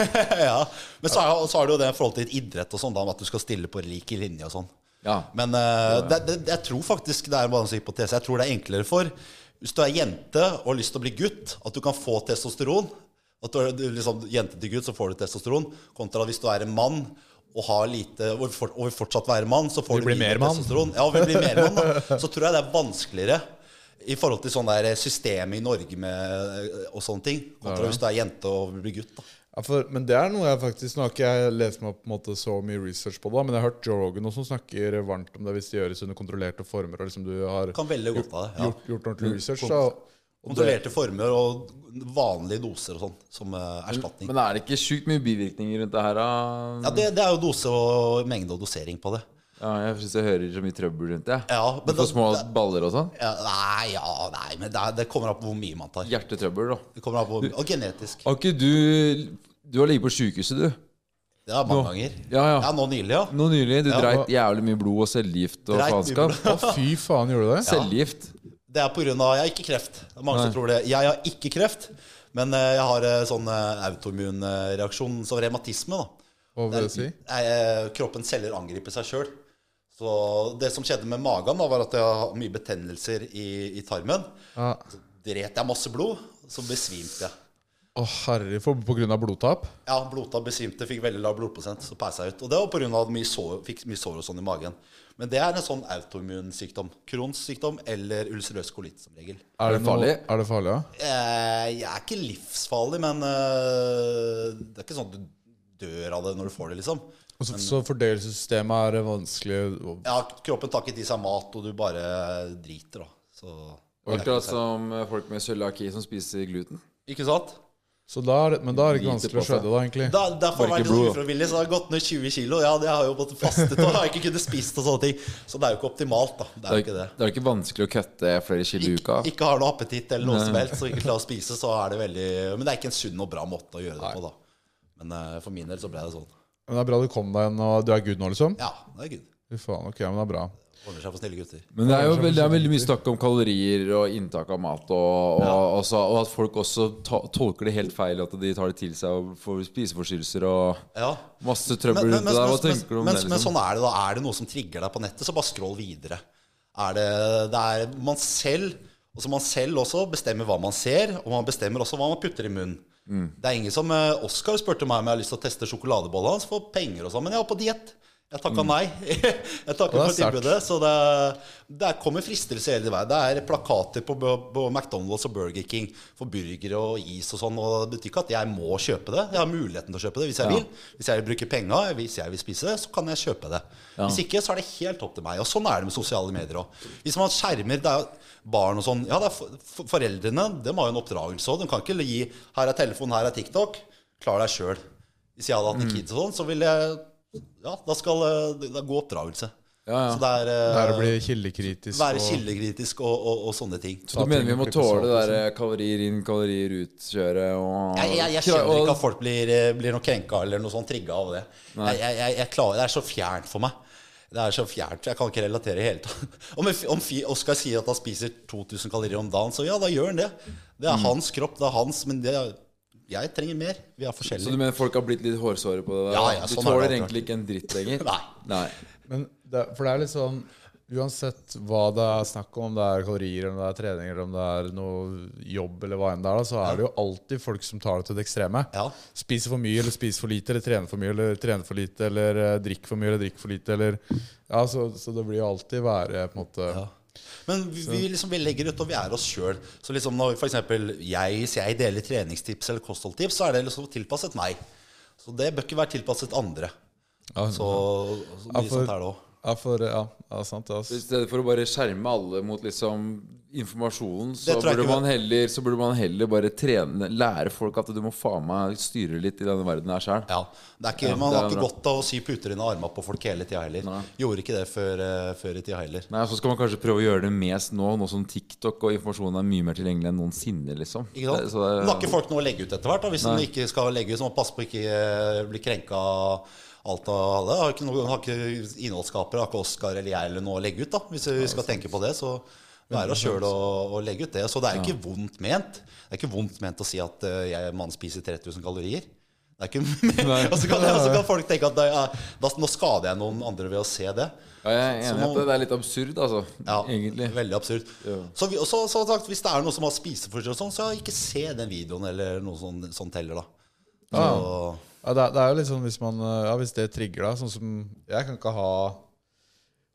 Speaker 2: ja. Men så er, så er det jo det i forhold til idrett og sånn, da, at du skal stille på lik linje og sånn.
Speaker 1: Ja.
Speaker 2: Men eh, det, det, jeg tror faktisk det er bare en sånn hypotese. Jeg tror det er enklere for hvis du er jente og har lyst til å bli gutt, at du kan få testosteron. At du er du er liksom jente til gutt, så får du testosteron. Kontra hvis du er en mann og har lite og vil fort- og vil fortsatt være mann, så får
Speaker 3: Vil
Speaker 2: du
Speaker 3: bli
Speaker 2: lite
Speaker 3: mer mann.
Speaker 2: testosteron. Ja, og vil bli mer mann, da. Så tror jeg det er vanskeligere. I forhold til sånn der systemet i Norge med, eh, og sånne ting. Kontra hvis du er jente og vil bli gutt. da
Speaker 3: Ja, for, men det er noe jeg faktisk Nå har ikke jeg lest meg opp på en måte så mye research på det, da, men jeg har hørt Joe Rogan også snakker varmt om det hvis det gjøres under kontrollerte former. Og liksom du har
Speaker 2: Kan veldig godt av det. Ja.
Speaker 3: gjort, gjort ordentlig research. Da, og det,
Speaker 2: Kontrollerte former og vanlige doser og sånn som eh, erstatning.
Speaker 1: Men er det ikke sjukt mye bivirkninger rundt det her, da?
Speaker 2: Ja, det, det er jo dose og mengde og dosering på det.
Speaker 1: Ja, jeg syns jeg hører så mye trøbbel rundt det. jeg.
Speaker 2: Ja, men
Speaker 1: Du får
Speaker 2: da-
Speaker 1: små baller og sånn.
Speaker 2: Ja, nei, ja, nei, men det, er- det kommer an på hvor mye man tar.
Speaker 1: Hjertetrøbbel, da.
Speaker 2: Det kommer an på hvor mye, Og genetisk.
Speaker 1: Har ikke du Du har ligget på sjukehuset, du.
Speaker 2: Det er mange
Speaker 1: Nå.
Speaker 2: ganger.
Speaker 1: Ja, ja.
Speaker 2: nå nylig, ja.
Speaker 1: Nå nylig. Du
Speaker 2: Ja.
Speaker 1: dreit jævlig mye blod og cellegift og
Speaker 2: Dreit mye
Speaker 1: faenskap.
Speaker 2: blod.
Speaker 3: å, fy faen, gjorde du det?
Speaker 1: Cellegift.
Speaker 2: Det er på grunn av Jeg har ikke kreft. Det er mange som tror det. Jeg har ikke kreft, men eh, jeg har eh, sånn eh, autoimmun eh, reaksjon som revmatisme, da.
Speaker 3: Hva vil det si?
Speaker 2: Det er- eh, Kroppens celler angriper seg sjøl. Så det som skjedde med magen, da, var at jeg har mye betennelser i, i tarmen.
Speaker 3: Ja.
Speaker 2: Så dret jeg masse blod, så besvimte jeg.
Speaker 3: Å, herre, for, på grunn av blodtap?
Speaker 2: Ja, blodta besvimte, fikk veldig lav blodprosent, så pæsa jeg ut. Og det var pga. at jeg mye sår, fikk mye sår og sånn i magen. Men det er en sånn autoimmun sykdom. Crohns sykdom eller ulcerøs kolitt som regel.
Speaker 3: Er
Speaker 1: det
Speaker 3: noe-
Speaker 1: farlig?
Speaker 3: er det farlig, ja?
Speaker 2: Eh, jeg er ikke livsfarlig, men eh, det er ikke sånn at du dør av det når du får det, liksom.
Speaker 3: Og så, Altså, så fordøyelsessystemet er vanskelig å-
Speaker 2: Ja, kroppen tar ikke i seg mat, og du bare eh, driter, da. Så altså.
Speaker 1: Akkurat som eh, folk med cøliaki som spiser gluten.
Speaker 2: Ikke sant?
Speaker 3: Så da er det, men da er det ikke vanskelig å skjønne da, egentlig.
Speaker 2: Da, derfor har
Speaker 1: Bare
Speaker 2: jeg vært
Speaker 1: ikke
Speaker 2: så
Speaker 1: blod.
Speaker 2: ufrivillig, så jeg har gått ned 20 kilo. Ja, det har jeg jo fått fastet og har ikke kunnet spist og sånne ting. Så det er jo ikke optimalt, da. Det
Speaker 1: Det
Speaker 2: er
Speaker 1: er,
Speaker 2: jo ikke det.
Speaker 1: det er ikke vanskelig å kutte flere kilo i uka.
Speaker 2: Ikke, ikke har noe appetitt eller noe som helst, og ikke klarer å spise, så er det veldig Men det er ikke en sunn og bra måte å gjøre det på, da. Men eh, for min del så ble det sånn.
Speaker 3: Men det er bra du kom deg inn, og du er good nå, liksom?
Speaker 2: Ja, det er good.
Speaker 3: Fy faen, ok, men det er bra.
Speaker 2: Ordner seg for snille gutter.
Speaker 1: Men det er jo veldig, det er veldig mye snakk om kalorier og inntak av mat, og, og, og, så, og at folk også ta, tolker det helt feil, at de tar det til seg og får spiseforstyrrelser og
Speaker 2: Ja.
Speaker 1: masse
Speaker 2: Men,
Speaker 1: trøbbel
Speaker 2: men,
Speaker 1: rundt
Speaker 2: men,
Speaker 1: det der.
Speaker 2: men,
Speaker 1: Hva
Speaker 2: men,
Speaker 1: tenker du om
Speaker 2: men,
Speaker 1: det?
Speaker 2: men
Speaker 1: Liksom?
Speaker 2: sånn er det da. Er det noe som trigger deg på nettet, så bare scroll videre. Er det, det er man selv altså Man selv også bestemmer hva man ser, og man bestemmer også hva man putter i munnen.
Speaker 1: Mm.
Speaker 2: Det er ingen som eh, Oskar spurte meg om jeg har lyst til å teste sjokoladebollen hans for penger og sånn, men jeg var på diett. Jeg
Speaker 1: Mm.
Speaker 2: takka nei. jeg takka
Speaker 3: Og
Speaker 2: for
Speaker 3: det er
Speaker 2: tilbudet. Så det, det kommer fristelser hele veien. Det er plakater på, på McDonald's og Burger King for burgere og is og sånn. Og det betyr ikke at jeg må kjøpe det. Jeg har muligheten til å kjøpe det hvis jeg vil. Hvis jeg vil bruke penga, hvis jeg vil spise det, så kan jeg kjøpe det. Hvis ikke, så er det helt opp til meg. Og sånn er det med sosiale medier òg. Hvis man skjermer det er jo barn og sånn Ja, det er for, for, foreldrene de har jo en oppdragelse òg. De kan ikke gi 'Her er telefon, her er TikTok'. Klar deg sjøl. Hvis jeg hadde hatt
Speaker 1: Mm.
Speaker 2: en kid og sånn, så ville jeg ja, da skal eh, det det er god oppdragelse.
Speaker 1: ja.
Speaker 2: Så det er, eh,
Speaker 3: Det er å bli kildekritisk
Speaker 2: være
Speaker 3: og
Speaker 2: kildekritisk og, og, og sånne ting.
Speaker 1: Så du mener vi må tåle det der eh, kalorier inn, kalorier ut-kjøret og
Speaker 2: Jeg, jeg, jeg skjønner ikke at folk blir, eh, blir noe krenka eller noe sånn trigga av det. Jeg, jeg, jeg, jeg klarer, det er så fjernt for meg. Det er så fjernt, Jeg kan ikke relatere i det hele tatt. Om, en fi- om fi- Oskar sier at han spiser 2000 kalorier om dagen, så ja, da gjør han det. Det er
Speaker 1: Mm.
Speaker 2: hans kropp, det er hans, men det er, jeg trenger mer. Vi er
Speaker 1: Så du
Speaker 2: forskjellige.
Speaker 1: mener folk har blitt litt hårsåre på det? der?
Speaker 2: Ja, ja,
Speaker 1: du
Speaker 2: sånn er
Speaker 1: tåler
Speaker 2: det alltid.
Speaker 1: egentlig ikke en dritt lenger?
Speaker 2: Nei.
Speaker 3: Men det, for det er litt sånn Uansett hva det er snakk om, om det er kalorier, om det er trening, eller om det er noe jobb, eller hva enn det er, da, så er det jo alltid folk som tar det til det ekstreme.
Speaker 2: Ja.
Speaker 3: Spiser for mye, eller spiser for lite, eller trener for mye, eller trener for lite, eller eh, drikker for mye, eller drikker for lite, eller Ja, så, så det blir jo alltid være på en måte
Speaker 2: Men vi, vi, liksom, vi legger ut, og vi er oss sjøl. Så liksom når for eksempel jeg, hvis jeg deler treningstips eller kostholdtips, så er det liksom tilpasset meg. Så det bør ikke være tilpasset andre. Så, så mye
Speaker 3: for-
Speaker 2: sånt er det òg.
Speaker 3: Ja, for Ja, ja sant, det.
Speaker 1: I
Speaker 3: ass.
Speaker 1: stedet for å bare skjerme alle mot liksom informasjonen, så
Speaker 2: Det tror jeg
Speaker 1: burde,
Speaker 2: ikke
Speaker 1: man heller, så burde man heller bare trene, lære folk at du må faen meg styre litt i denne verden her sjøl.
Speaker 2: Ja. Det er ikke,
Speaker 1: Ja,
Speaker 2: man
Speaker 1: det
Speaker 2: har
Speaker 1: er
Speaker 2: ikke
Speaker 1: bra.
Speaker 2: godt av å sy puter under armene på folk hele tida heller. Gjorde ikke det før, eh, før i tida heller.
Speaker 1: Nei, Så skal man kanskje prøve å gjøre det mest nå, nå som TikTok og informasjonen er mye mer tilgjengelig enn noensinne. liksom
Speaker 2: Ikke sant?
Speaker 1: Det- så det-
Speaker 2: Men har ikke folk noe å legge ut etter hvert? da Hvis de ikke skal legge ut, så må man passe på å ikke eh, bli krenka av alt av alle. Har ikke, noe, har ikke innholdsskapere, har ikke Oskar eller jeg eller noe å legge ut, da hvis vi skal tenke på det. Så være oss sjøl og, og legge ut det. Så det er jo ikke vondt ment. Det er ikke vondt ment å si at eh, jeg mann spiser 3000 kalorier. Det er ikke Og så kan, og så kan folk tenke at det er, da, nå skader jeg noen andre ved å se det.
Speaker 1: ja, jeg er
Speaker 2: Så
Speaker 1: enig i
Speaker 2: nå-
Speaker 1: at det, det er litt absurd, altså.
Speaker 2: Ja,
Speaker 1: egentlig.
Speaker 2: Veldig absurd. Så, vi, og så, så sagt, hvis det er noe som har spiseforstyrrelser, og sånn, så ikke se den videoen eller noe sånn, sånn teller, da. Så,
Speaker 3: Ja, det, er, det er jo litt sånn hvis man eh, Ja, hvis det trigger deg Sånn som Jeg kan ikke ha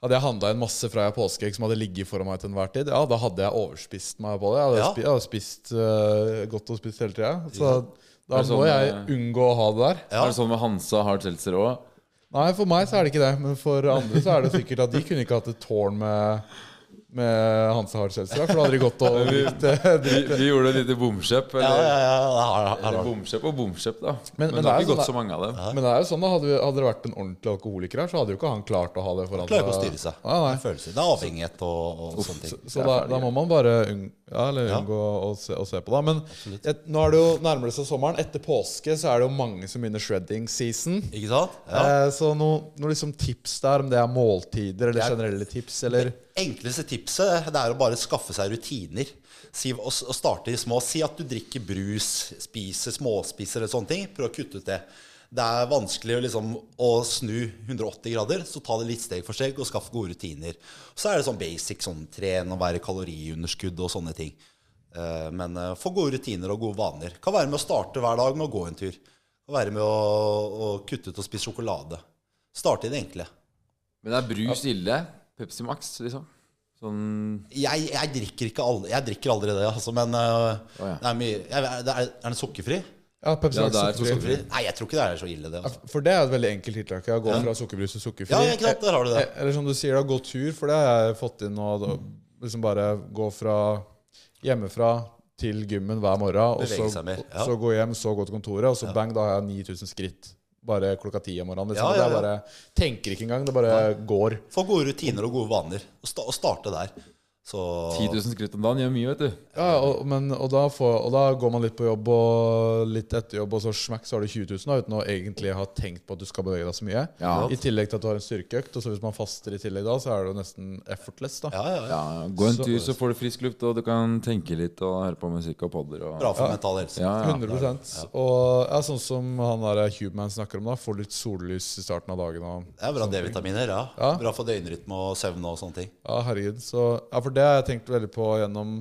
Speaker 3: Hadde jeg handla inn masse fra jeg er påskeegg som hadde ligget foran meg til enhver tid, ja, da hadde jeg overspist meg på det. Jeg hadde,
Speaker 2: Ja.
Speaker 3: spi, jeg hadde spist eh, godt og spist hele tida. Så da
Speaker 1: Er det
Speaker 3: må
Speaker 1: sånn,
Speaker 3: jeg
Speaker 1: eh,
Speaker 3: unngå å ha det der.
Speaker 1: Er det sånn med Hansa Hard Seltzer òg?
Speaker 3: Nei, for meg så er det ikke det. Men for andre så er det sikkert at de kunne ikke hatt et tårn med, med Hansa Hard Seltzer. For da hadde de gått og eh, drikt
Speaker 1: Vi, vi gjorde et lite bomkjøp.
Speaker 2: ja,
Speaker 1: Eller,
Speaker 2: ja, ja, her, her, her.
Speaker 1: eller bomkjøp og bomkjøp, da.
Speaker 3: Men-
Speaker 1: Men,
Speaker 3: men
Speaker 1: det har ikke
Speaker 3: det er sånn
Speaker 1: gått
Speaker 3: da-
Speaker 1: så mange av dem.
Speaker 3: Men det er jo sånn da hadde, vi, hadde det vært en ordentlig alkoholiker her, så hadde jo ikke han klart å ha det foran
Speaker 2: Klarer ikke å styre seg.
Speaker 3: Nei, nei.
Speaker 2: Det er følelser. Det er avhengighet og, og sånne ting.
Speaker 3: Så da, da må man bare unng ja, eller unngå å, se, å se på det. Men et, nå er det jo nærmere seg sommeren. Etter påske så er det jo mange som begynner shredding season.
Speaker 2: Ikke sant? Ja.
Speaker 3: Eh, så noen noe liksom tips der, om det er måltider eller generelle tips, eller
Speaker 2: Enkleste tipset det er å bare skaffe seg rutiner. Si, og, s- og starte i små. Si at du drikker brus, spiser småspiser eller sånne ting. Prøv å kutte ut det. Det er vanskelig å, liksom, å snu 180 grader, så ta det litt steg for steg og skaff gode rutiner. Så er det sånn basic sånn tren og være i kaloriunderskudd og sånne ting. Eh, Men eh, få gode rutiner og gode vaner. Kan være med å starte hver dag med å gå en tur. Kan være med å, å kutte ut og spise sjokolade. Starte i det enkle.
Speaker 1: Men er brus ille? Pepsi Max, liksom? Sånn
Speaker 2: Jeg, jeg drikker ikke aldri, jeg drikker aldri det, altså, men øh,
Speaker 1: Å, ja.
Speaker 2: det er, mye, jeg, er, det- er den sukkerfri?
Speaker 3: ja, Pepsi
Speaker 1: Ja,
Speaker 3: Max
Speaker 1: det er
Speaker 3: sukkerfri.
Speaker 1: sukkerfri.
Speaker 2: Nei, jeg tror ikke det er så ille, det. Altså.
Speaker 3: For det er et veldig enkelt tiltak. ja, Å gå fra sukkerbrus til sukkerfri.
Speaker 2: Ja, ja, ikke sant, der har du det.
Speaker 3: Eh, Eller som du sier, da, gå tur, for det har jeg fått inn nå. da. Liksom bare gå fra hjemmefra til gymmen hver morgen, og
Speaker 2: Bevege
Speaker 3: så,
Speaker 2: seg mer, ja.
Speaker 3: så gå hjem, så gå til kontoret, og så bang, da har jeg 9000 skritt. Bare klokka ti om morgenen. Liksom.
Speaker 2: Ja, ja,
Speaker 3: Det
Speaker 2: ja.
Speaker 3: er bare, tenker ikke engang, det bare går.
Speaker 2: Få gode rutiner og gode vaner. Og, sta og starte der. Så
Speaker 4: 10 000 skritt om dagen gjør mye, vet du.
Speaker 3: Ja, og, men, og, da får, og da går man litt på jobb og litt etter jobb, og så smekk, så har du 20 000 da, uten å egentlig ha tenkt på at du skal bevege deg så mye.
Speaker 4: Ja.
Speaker 3: I tillegg til at du har en styrkeøkt, og så hvis man faster i tillegg da, så er det jo nesten effortless. da.
Speaker 2: ja, ja, ja.
Speaker 4: Ja, gå en
Speaker 3: Så-
Speaker 4: tur, så får du frisk luft, og du kan tenke litt og høre på musikk og podder. Og...
Speaker 2: Bra for mental helse.
Speaker 4: Ja, ja.
Speaker 3: 100 Og ja, sånn som han der Hubeman snakker om, da, får litt sollys i starten av dagen. og
Speaker 2: Det er bra D-vitaminer. Ja.
Speaker 3: Ja.
Speaker 2: Bra for døgnrytme og søvn og sånne ting.
Speaker 3: Ja, herregud. Så, ja, for det har jeg tenkt veldig på gjennom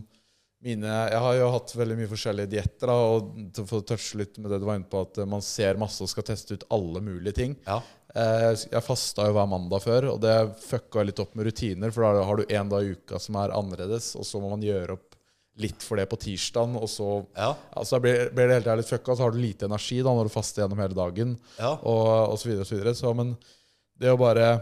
Speaker 3: mine Jeg har jo hatt veldig mye forskjellige dietter, da, og til å få touche litt med det du var inne på, at eh, man ser masse og skal teste ut alle mulige ting.
Speaker 2: Ja.
Speaker 3: Eh, Jeg fasta jo hver mandag før, og det fucka jeg litt opp med rutiner, for da har du én dag i uka som er annerledes, og så må man gjøre opp litt for det på tirsdagen, og så
Speaker 2: Ja.
Speaker 3: Altså, da blir, blir det hele tiden litt fucka, så har du lite energi da når du faster gjennom hele dagen.
Speaker 2: Ja.
Speaker 3: Og, og så videre og så videre. Så, men det å bare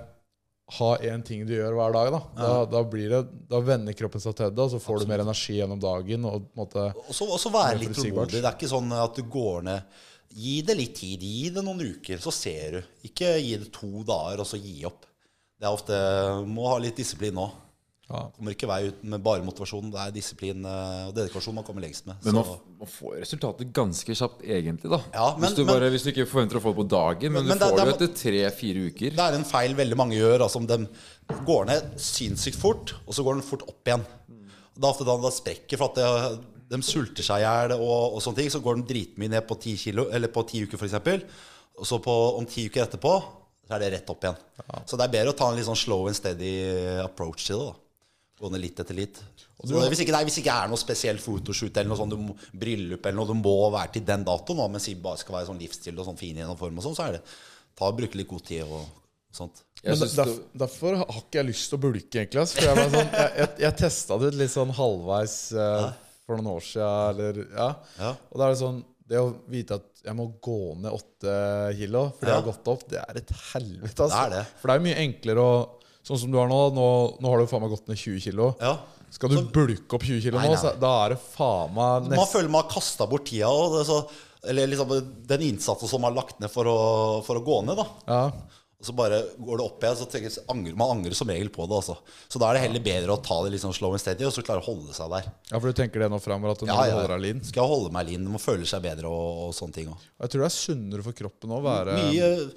Speaker 3: ha én ting du gjør hver dag, da, da, da, blir det, da vender kroppen seg til det, og så får du mer energi gjennom dagen. Og på en måte,
Speaker 2: Og så og så være litt
Speaker 3: forutsigbart.
Speaker 2: tålmodig. Det er ikke sånn at du går ned Gi det litt tid. Gi det noen uker, så ser du. Ikke gi det to dager, og så gi opp. Det er ofte Må ha litt disiplin nå.
Speaker 3: Ja.
Speaker 2: Kommer ikke vei ut med bare motivasjon. Det er disiplin eh, og dedikasjon man kommer lengst med.
Speaker 4: Men man,
Speaker 2: så-
Speaker 4: f- man får resultatet ganske kjapt, egentlig. da
Speaker 2: Ja, men-
Speaker 4: hvis, du
Speaker 2: men-
Speaker 4: bare, hvis du ikke forventer å få det på dagen, men,
Speaker 2: Men- men
Speaker 4: du
Speaker 2: det-
Speaker 4: får det jo
Speaker 2: det-
Speaker 4: etter tre-fire uker.
Speaker 2: Det er en feil veldig mange gjør. Altså om de går ned sinnssykt fort, og så går den fort opp igjen. Det er ofte da de sprekker, for at det, de sulter seg i hjel og, og sånne ting. Så går de dritmye ned på ti, kilo, eller på ti uker, f.eks. Og så på, om ti uker etterpå så er det rett opp igjen. Så det er bedre å ta en litt sånn slow and steady approach til det. da Gå ned litt etter litt. Så det, hvis, ikke, nei, hvis ikke er noe spesiell photoshoot eller noe sånn, du må, bryllup eller noe, du må være til den datoen, da, men si bare skal være sånn livsstil og sånn fin gjennom form og sånn, så er det ta og bruke litt god tid og sånt.
Speaker 4: Jeg
Speaker 3: Men
Speaker 4: synes
Speaker 3: derf, derfor har ikke jeg lyst til å bulke, egentlig. ass, For jeg, var sånn, jeg, jeg, jeg testa det ut litt sånn halvveis eh, for noen år siden. Eller, ja.
Speaker 2: Ja.
Speaker 3: Og da er det sånn Det å vite at jeg må gå ned åtte kilo fordi jeg har gått opp, det er et helvete. ass.
Speaker 2: Det er det.
Speaker 3: For det er mye enklere å Sånn som du har nå, nå, nå har du faen meg gått ned 20 kilo.
Speaker 2: Ja.
Speaker 3: Skal du bulke opp 20 kilo
Speaker 2: Nei,
Speaker 3: nå,
Speaker 2: nei.
Speaker 3: så da er det faen meg
Speaker 2: Man
Speaker 3: nesten
Speaker 2: føler man har kasta bort tida og det, er så, eller liksom den innsatsen som man har lagt ned for å, for å gå ned, da.
Speaker 3: ja.
Speaker 2: Og så bare går det opp igjen, så tenker, jeg- angrer man angrer som regel på det. altså. Så da er det heller bedre å ta det litt sånn slow and steady, og så klare å holde seg der.
Speaker 3: ja, for du tenker det nå fremover at når
Speaker 2: Ja,
Speaker 3: du
Speaker 2: ja.
Speaker 3: holder deg lean
Speaker 2: Skal jeg holde meg lean? Man føler seg bedre og, og sånne ting òg.
Speaker 3: Og Jeg tror det er sunnere for kroppen å være
Speaker 2: Mye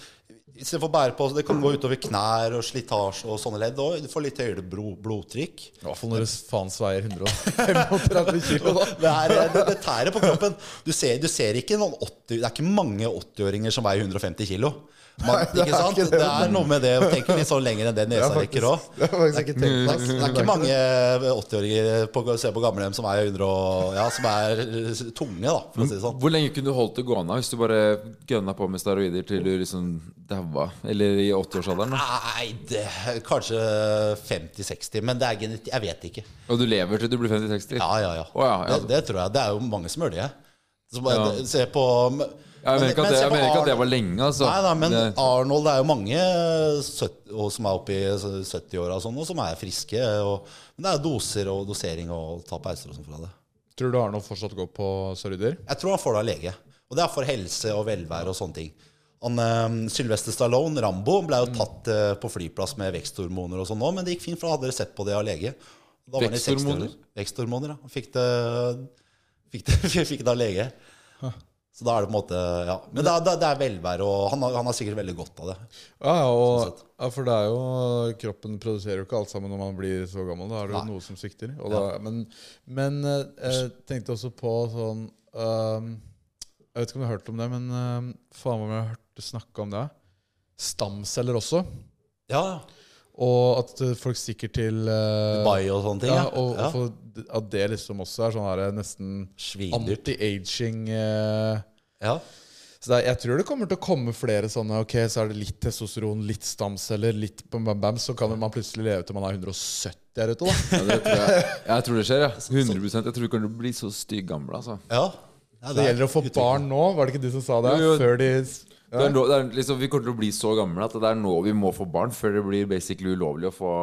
Speaker 2: Istedenfor å bære på Det kan gå utover knær og slitasje og sånne ledd òg. Du får litt høyere blo- blodtrykk.
Speaker 3: I hvert fall når det faen sveier 135 kilo, da.
Speaker 2: Det, er, det, det tærer på kroppen. Du ser, du ser ikke noen 80, Det er ikke mange 80-åringer som veier 150 kilo. Man, ikke sant? det. er noe med det å tenke litt sånn lenger enn det nesa rekker òg.
Speaker 3: Det har jeg faktisk ikke tenkt på. ass.
Speaker 2: Det er ikke mange 80-åringer på, se på gamlehjem som er 100 og, ja, som er eh, tunge, da, for å si det sånn.
Speaker 4: Hvor lenge kunne du holdt det gående hvis du bare gønna på med steroider til du liksom daua? Eller i 80-årsalderen? da?
Speaker 2: Nei, det, er kanskje 50-60, men det er genetikk Jeg vet ikke.
Speaker 4: Og du lever til du blir 50-60?
Speaker 2: Ja, ja, ja.
Speaker 4: Å, ja, ja.
Speaker 2: Det, det tror jeg. Det er jo mange som gjør det. Så bare,
Speaker 4: Ja.
Speaker 2: det- Se på men-
Speaker 4: Jeg mener
Speaker 2: men-
Speaker 4: ikke
Speaker 2: men
Speaker 4: at det,
Speaker 2: se
Speaker 4: jeg
Speaker 2: på
Speaker 4: mener ikke at det
Speaker 2: Arnold.
Speaker 4: var lenge, altså.
Speaker 2: Nei, nei, men
Speaker 4: Det-
Speaker 2: Arnold det er jo mange 70, og som er oppe i 70-åra og sånn, og som er friske. Og, men det er doser og dosering og ta pauser og sånn fra det.
Speaker 3: Tror du Arnold fortsatt går på steroider?
Speaker 2: Jeg tror han får det av lege. Og det er for helse og velvære og sånne ting. Han, eh, Sylvester Stallone, Rambo, ble
Speaker 3: Mm.
Speaker 2: jo tatt eh, på flyplass med veksthormoner og sånn nå, men det gikk fint, for han hadde resept på det av lege. Da var han i 60-åra.
Speaker 4: Veksthormoner?
Speaker 2: Veksthormoner, ja. Han Fikk det, fikk det, fikk det av lege. Så da er det på en måte Ja. Men det, er- det, er- det er velvære, og han, har- han har sikkert veldig godt av det.
Speaker 3: Ja, ja,
Speaker 2: Sånn
Speaker 3: og,
Speaker 2: sett.
Speaker 3: ja, for det er jo Kroppen produserer jo ikke alt sammen når man blir så gammel. Da er det jo
Speaker 2: Nei.
Speaker 3: noe som svikter. Og da, Men, men eh, jeg tenkte også på sånn ehm, Jeg vet ikke om du har hørt om det, men ehm, faen meg om jeg har hørt snakke om det. Stamceller også.
Speaker 2: Ja, ja.
Speaker 3: Og at eh, folk stikker til eh,
Speaker 2: Dubai og sånne ting.
Speaker 3: ja,
Speaker 2: Ja,
Speaker 3: og,
Speaker 2: ja.
Speaker 3: og for, at det liksom også er sånn her nesten
Speaker 2: Svindyrt.
Speaker 3: anti-aging eh,
Speaker 2: Ja.
Speaker 3: Så det er, jeg tror det kommer til å komme flere sånne. Ok, så er det litt testosteron, litt stamceller, litt bam, bam, bam. Så kan man plutselig leve til man er 170 her ute, da.
Speaker 4: Ja, det tror jeg. jeg tror det skjer, ja. 100 Jeg tror ikke du blir så stygg gammel, altså.
Speaker 2: ja. Ja,
Speaker 3: Det
Speaker 2: er
Speaker 3: gjelder å få
Speaker 2: utvikling.
Speaker 3: barn nå, var det ikke du som sa det?
Speaker 4: Jo, jo.
Speaker 3: Før de
Speaker 4: Det er nå, det er liksom, vi kommer til å bli så gamle at det er nå vi må få barn, før det blir basically ulovlig å få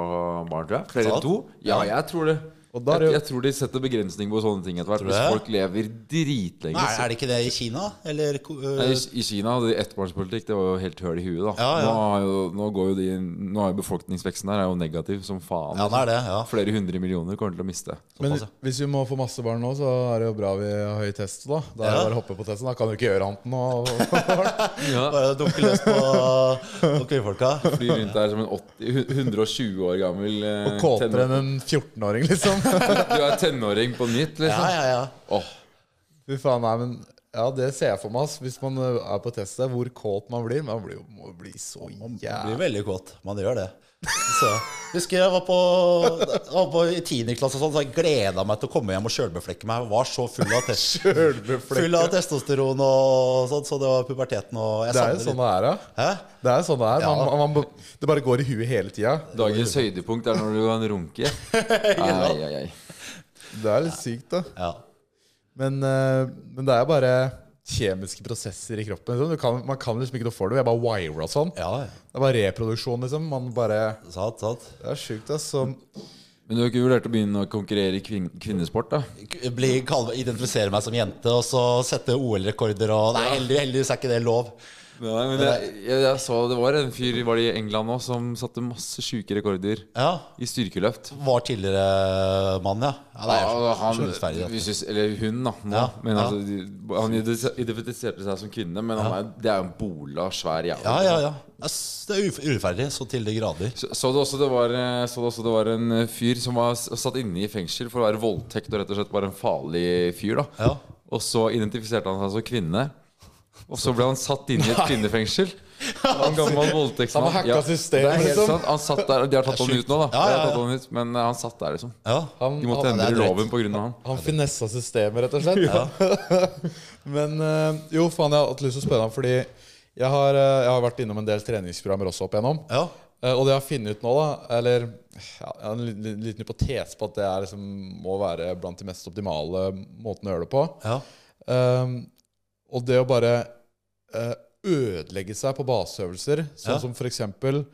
Speaker 4: barn, tror jeg. Flere enn
Speaker 2: Sant?
Speaker 4: to? Ja, jeg tror det.
Speaker 3: Og da
Speaker 1: Jeg,
Speaker 3: er det jo
Speaker 1: jeg tror de setter begrensning på sånne ting etter hvert.
Speaker 2: Tror du
Speaker 1: Hvis
Speaker 2: det?
Speaker 1: folk lever dritlenge
Speaker 2: Nei,
Speaker 1: så-
Speaker 2: er det ikke det i Kina? Eller ko- øh,
Speaker 1: Nei, I i Kina hadde de ettbarnspolitikk. Det var jo helt høl i huet. da
Speaker 2: Ja, ja.
Speaker 1: Nå, har jo, nå, går jo de, nå er jo befolkningsveksten her er jo negativ som faen.
Speaker 2: Ja, det er det. ja
Speaker 1: Flere hundre millioner kommer til å miste.
Speaker 3: Men
Speaker 2: Såpass, ja.
Speaker 3: hvis vi må få masse barn nå, så er det jo bra vi har høy test. Da Da er det
Speaker 2: Ja.
Speaker 3: bare å hoppe på testen. Da kan du ikke gjøre annet enn å
Speaker 2: Bare dunke løs på, på kvinnfolka.
Speaker 1: Fly rundt der som en 80, 120 år gammel eh,
Speaker 3: og kåtere enn
Speaker 1: tenåring.
Speaker 3: en 14-åring, liksom.
Speaker 1: Du er tenåring på nytt,
Speaker 2: Ja,
Speaker 1: liksom.
Speaker 2: ja, ja.
Speaker 1: Åh,
Speaker 3: Fy faen, nei, men Ja, det ser jeg for meg. ass. Hvis man eh, er på test der, hvor kåt man blir. Man blir jo må jo bli så
Speaker 2: Man blir
Speaker 3: jævlig
Speaker 2: veldig kåt. Man gjør det. Så, husker jeg var på, jeg var på i 10. klasse og sånn, så jeg gleda meg til å komme hjem og sjølbeflekke meg. Jeg var så full av, tes- full av testosteron og sånn, så det var puberteten og jeg
Speaker 3: Det er jo
Speaker 2: savner
Speaker 3: sånn
Speaker 2: litt.
Speaker 3: det er, ja.
Speaker 2: Hæ?
Speaker 3: Det er sånn det er. Man,
Speaker 2: Ja.
Speaker 3: man, man, det bare går i huet hele tida.
Speaker 1: dagens høydepunkt er når du kan runke. Ai, ai, ai.
Speaker 3: Det er litt sykt, da.
Speaker 2: Ja.
Speaker 3: Men, eh, men det er bare kjemiske prosesser i kroppen. Liksom. Du kan, man kan liksom ikke noe for det. Vi er bare wira og sånn.
Speaker 2: ja.
Speaker 3: Det er bare reproduksjon, liksom. Man bare
Speaker 2: Sant, sant.
Speaker 3: Det er sjukt, ass. Så-
Speaker 1: Men du har ikke vurdert å begynne å konkurrere i kvin kvinnesport, da?
Speaker 2: Bli, kall, identifisere meg som jente og så sette OL-rekorder og Nei, heldig- heldigvis er ikke det lov.
Speaker 1: Nei, men jeg, jeg, jeg så det var en fyr var det i England nå som satte masse sjuke rekorder
Speaker 2: Ja.
Speaker 1: i styrkeløft.
Speaker 2: Var tidligere mann, ja. ja det er sånn jo
Speaker 1: Ja, han,
Speaker 2: skjønnsferdig, dette.
Speaker 1: vi synes, eller hun, da. Nå.
Speaker 2: Ja,
Speaker 1: Men
Speaker 2: ja.
Speaker 1: altså, de- han ide- identifiserte seg som kvinne, men han er, det er jo en bola svær jævel.
Speaker 2: Ja, ja, ja. Ass, Det er uf- urettferdig så til de grader.
Speaker 1: Så, så, du også det var, eh, så du også det var en eh, fyr som var s- satt inne i fengsel for å være voldtekt og rett og slett bare en farlig fyr. da
Speaker 2: Ja.
Speaker 1: Og så identifiserte han seg som kvinne. Og så ble han satt inn i et kvinnefengsel. Han gammel
Speaker 2: altså,
Speaker 1: voldtektsmann.
Speaker 3: Han har hacka systemet,
Speaker 1: det er helt
Speaker 3: liksom.
Speaker 1: sant. Han satt der, De har tatt han
Speaker 2: sjukt.
Speaker 1: ut nå, da.
Speaker 2: Ja,
Speaker 1: De har
Speaker 2: ja,
Speaker 1: tatt han ut, men eh, han satt der, liksom.
Speaker 2: Ja.
Speaker 3: han,
Speaker 1: De måtte
Speaker 3: han,
Speaker 2: det er
Speaker 1: endre
Speaker 2: drøyt.
Speaker 1: loven pga. han.
Speaker 3: han finessa systemet, rett og slett. Men eh, jo, faen, jeg har hatt lyst til å spørre ham, fordi jeg har, eh, jeg har vært innom en del treningsprogrammer også opp igjennom.
Speaker 2: ja.
Speaker 3: Eh, Og det jeg har funnet ut nå, da Eller ja, jeg har en liten, liten hypotese på at det er liksom, må være blant de mest optimale måtene å gjøre det på.
Speaker 2: ja.
Speaker 3: Ehm, og det å bare eh, ødelegge seg på baseøvelser, sånn
Speaker 2: Ja.
Speaker 3: som for eksempel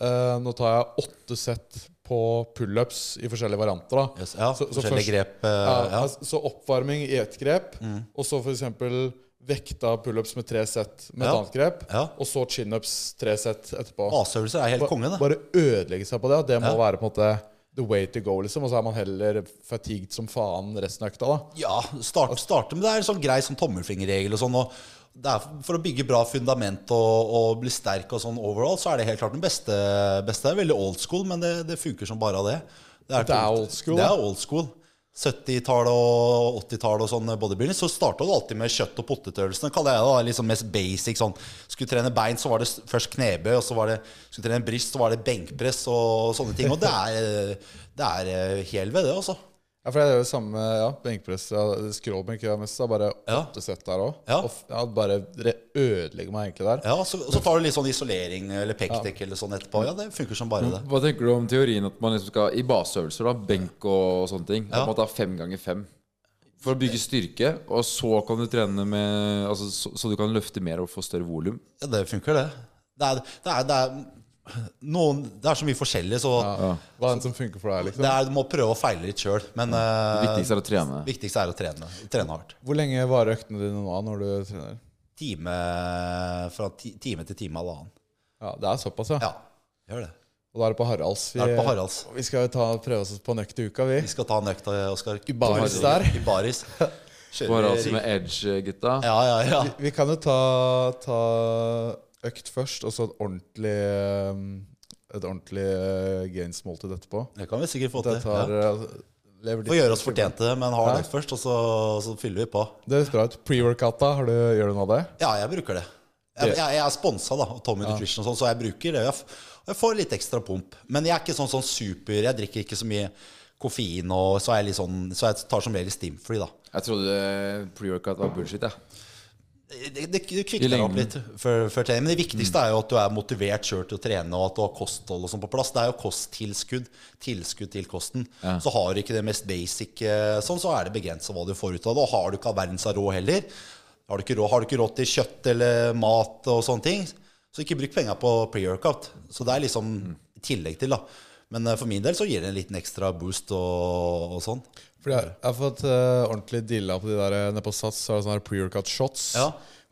Speaker 3: eh, Nå tar jeg åtte sett på pullups i forskjellige varianter. da
Speaker 2: Yes, ja.
Speaker 3: Så- så
Speaker 2: Forskjellige
Speaker 3: først-
Speaker 2: grep. eh,
Speaker 3: ja,
Speaker 2: ja. Mm.
Speaker 3: altså, Så oppvarming i ett grep, og så for eksempel vekta pullups med tre sett med
Speaker 2: Ja.
Speaker 3: et annet grep,
Speaker 2: Ja.
Speaker 3: og så chinups tre sett etterpå.
Speaker 2: Baseøvelser er helt
Speaker 3: Ba-
Speaker 2: konge, det.
Speaker 3: Bare ødelegge seg på det. at Det
Speaker 2: Ja.
Speaker 3: må være på en måte the way to go, liksom. Og så er man heller fatigued som faen resten av økta, da.
Speaker 2: Ja, start, starte med det er en sånn grei sånn tommelfingerregel og sånn. Og det er for å bygge bra fundament og, og bli sterk og sånn overall, så er det helt klart den beste. beste. Det er veldig old school, men det, det funker som bare av det.
Speaker 3: Det er old school,
Speaker 2: Det
Speaker 3: da.
Speaker 2: er old school. 70-tallet og 80-tallet og sånn bodybuilding, så starta du alltid med kjøtt- og potetøvelsene, kaller jeg det. da, liksom mest basic sånn. Skulle trene bein, så var det s- først knebøy, og så var det skulle trene bryst, så var det benkpress og sånne ting. Og det er, det er hel ved det, altså.
Speaker 3: Ja, for det er jo samme ja, benkpress. Ja, Skråbenk gjør jeg mest. da, Bare
Speaker 2: Ja.
Speaker 3: åtte sett der òg.
Speaker 2: Ja.
Speaker 3: Ja, bare re- ødelegge meg egentlig der.
Speaker 2: Ja, så, så tar du litt sånn isolering eller pekdekk eller sånn etterpå. Ja, det funker som
Speaker 3: Mm.
Speaker 2: bare det.
Speaker 1: Hva tenker du om teorien at man liksom skal i baseøvelser, da, benk og sånne ting,
Speaker 2: Ja.
Speaker 1: at man tar fem ganger fem? For å bygge styrke, og så kan du trene med Altså så, så du kan løfte mer og få større volum.
Speaker 2: Ja, det funker, det. Det er, det er, det er, noen, det er så mye forskjellig, så
Speaker 3: Hva er det som funker for deg? liksom?
Speaker 2: det er, du må prøve å feile litt sjøl. Men
Speaker 1: Det
Speaker 2: eh,
Speaker 1: viktigste er å trene.
Speaker 2: viktigste er å trene, trene hardt.
Speaker 3: Hvor lenge varer øktene dine nå når du trener?
Speaker 2: Time, fra ti, time til time halvannen.
Speaker 3: Ja, Det er såpass, ja.
Speaker 2: Ja, gjør det.
Speaker 3: Og da er det på Haralds. Vi,
Speaker 2: Da er det på Haralds.
Speaker 3: Vi skal jo ta, prøve oss på en økt i uka, vi.
Speaker 2: Vi skal ta en økt av Oskar.
Speaker 3: I baris der.
Speaker 2: I baris.
Speaker 1: Bare altså med edge-gutta.
Speaker 2: Ja, ja, ja.
Speaker 3: Vi kan jo ta, ta økt først, og så et ordentlig um, Et ordentlig uh, gains-måltid etterpå.
Speaker 2: Det kan vi sikkert få
Speaker 3: Det
Speaker 2: til.
Speaker 3: tar
Speaker 2: Ja.
Speaker 3: uh, lever
Speaker 2: Får gjøre oss fortjente, men hard
Speaker 3: Ja.
Speaker 2: økt først, og så, så fyller vi på.
Speaker 3: Det høres bra ut. Pre-workout, da? Har du, gjør du noe av det?
Speaker 2: Ja, jeg bruker det. Jeg, jeg, jeg er sponsa av Tommy Nutrition, og sånn, så jeg bruker det. Jeg, f- jeg får litt ekstra pump. Men jeg er ikke sånn, sånn super Jeg drikker ikke så mye koffein, og så, er jeg litt sånn, så jeg tar som regel Stimfree, da.
Speaker 1: Jeg trodde pre-workout var bullshit. jeg.
Speaker 2: Det, det, det
Speaker 1: I
Speaker 2: kvikner
Speaker 1: lengden. Mm.
Speaker 2: opp litt før, før trening. Men det viktigste er jo at du er motivert sjøl til å trene, og at du har kosthold og sånn på plass. Det er jo kosttilskudd. Tilskudd til kosten. Så har du ikke det mest basic eh, sånn, så er det begrensa hva du får ut av det. Og har du ikke all verdens av råd heller, har du, ikke råd, har du ikke råd til kjøtt eller
Speaker 1: Mm.
Speaker 2: mat og sånne ting, så ikke bruk penga på pre-workout. Så det er liksom i tillegg til, da. Men eh, for min del så gir det en liten ekstra boost og, og sånn.
Speaker 3: Fordi jeg, jeg har fått eh, ordentlig dilla på de der eh, nede på Sats. Så er det sånne her pre-workout shots.
Speaker 2: Ja.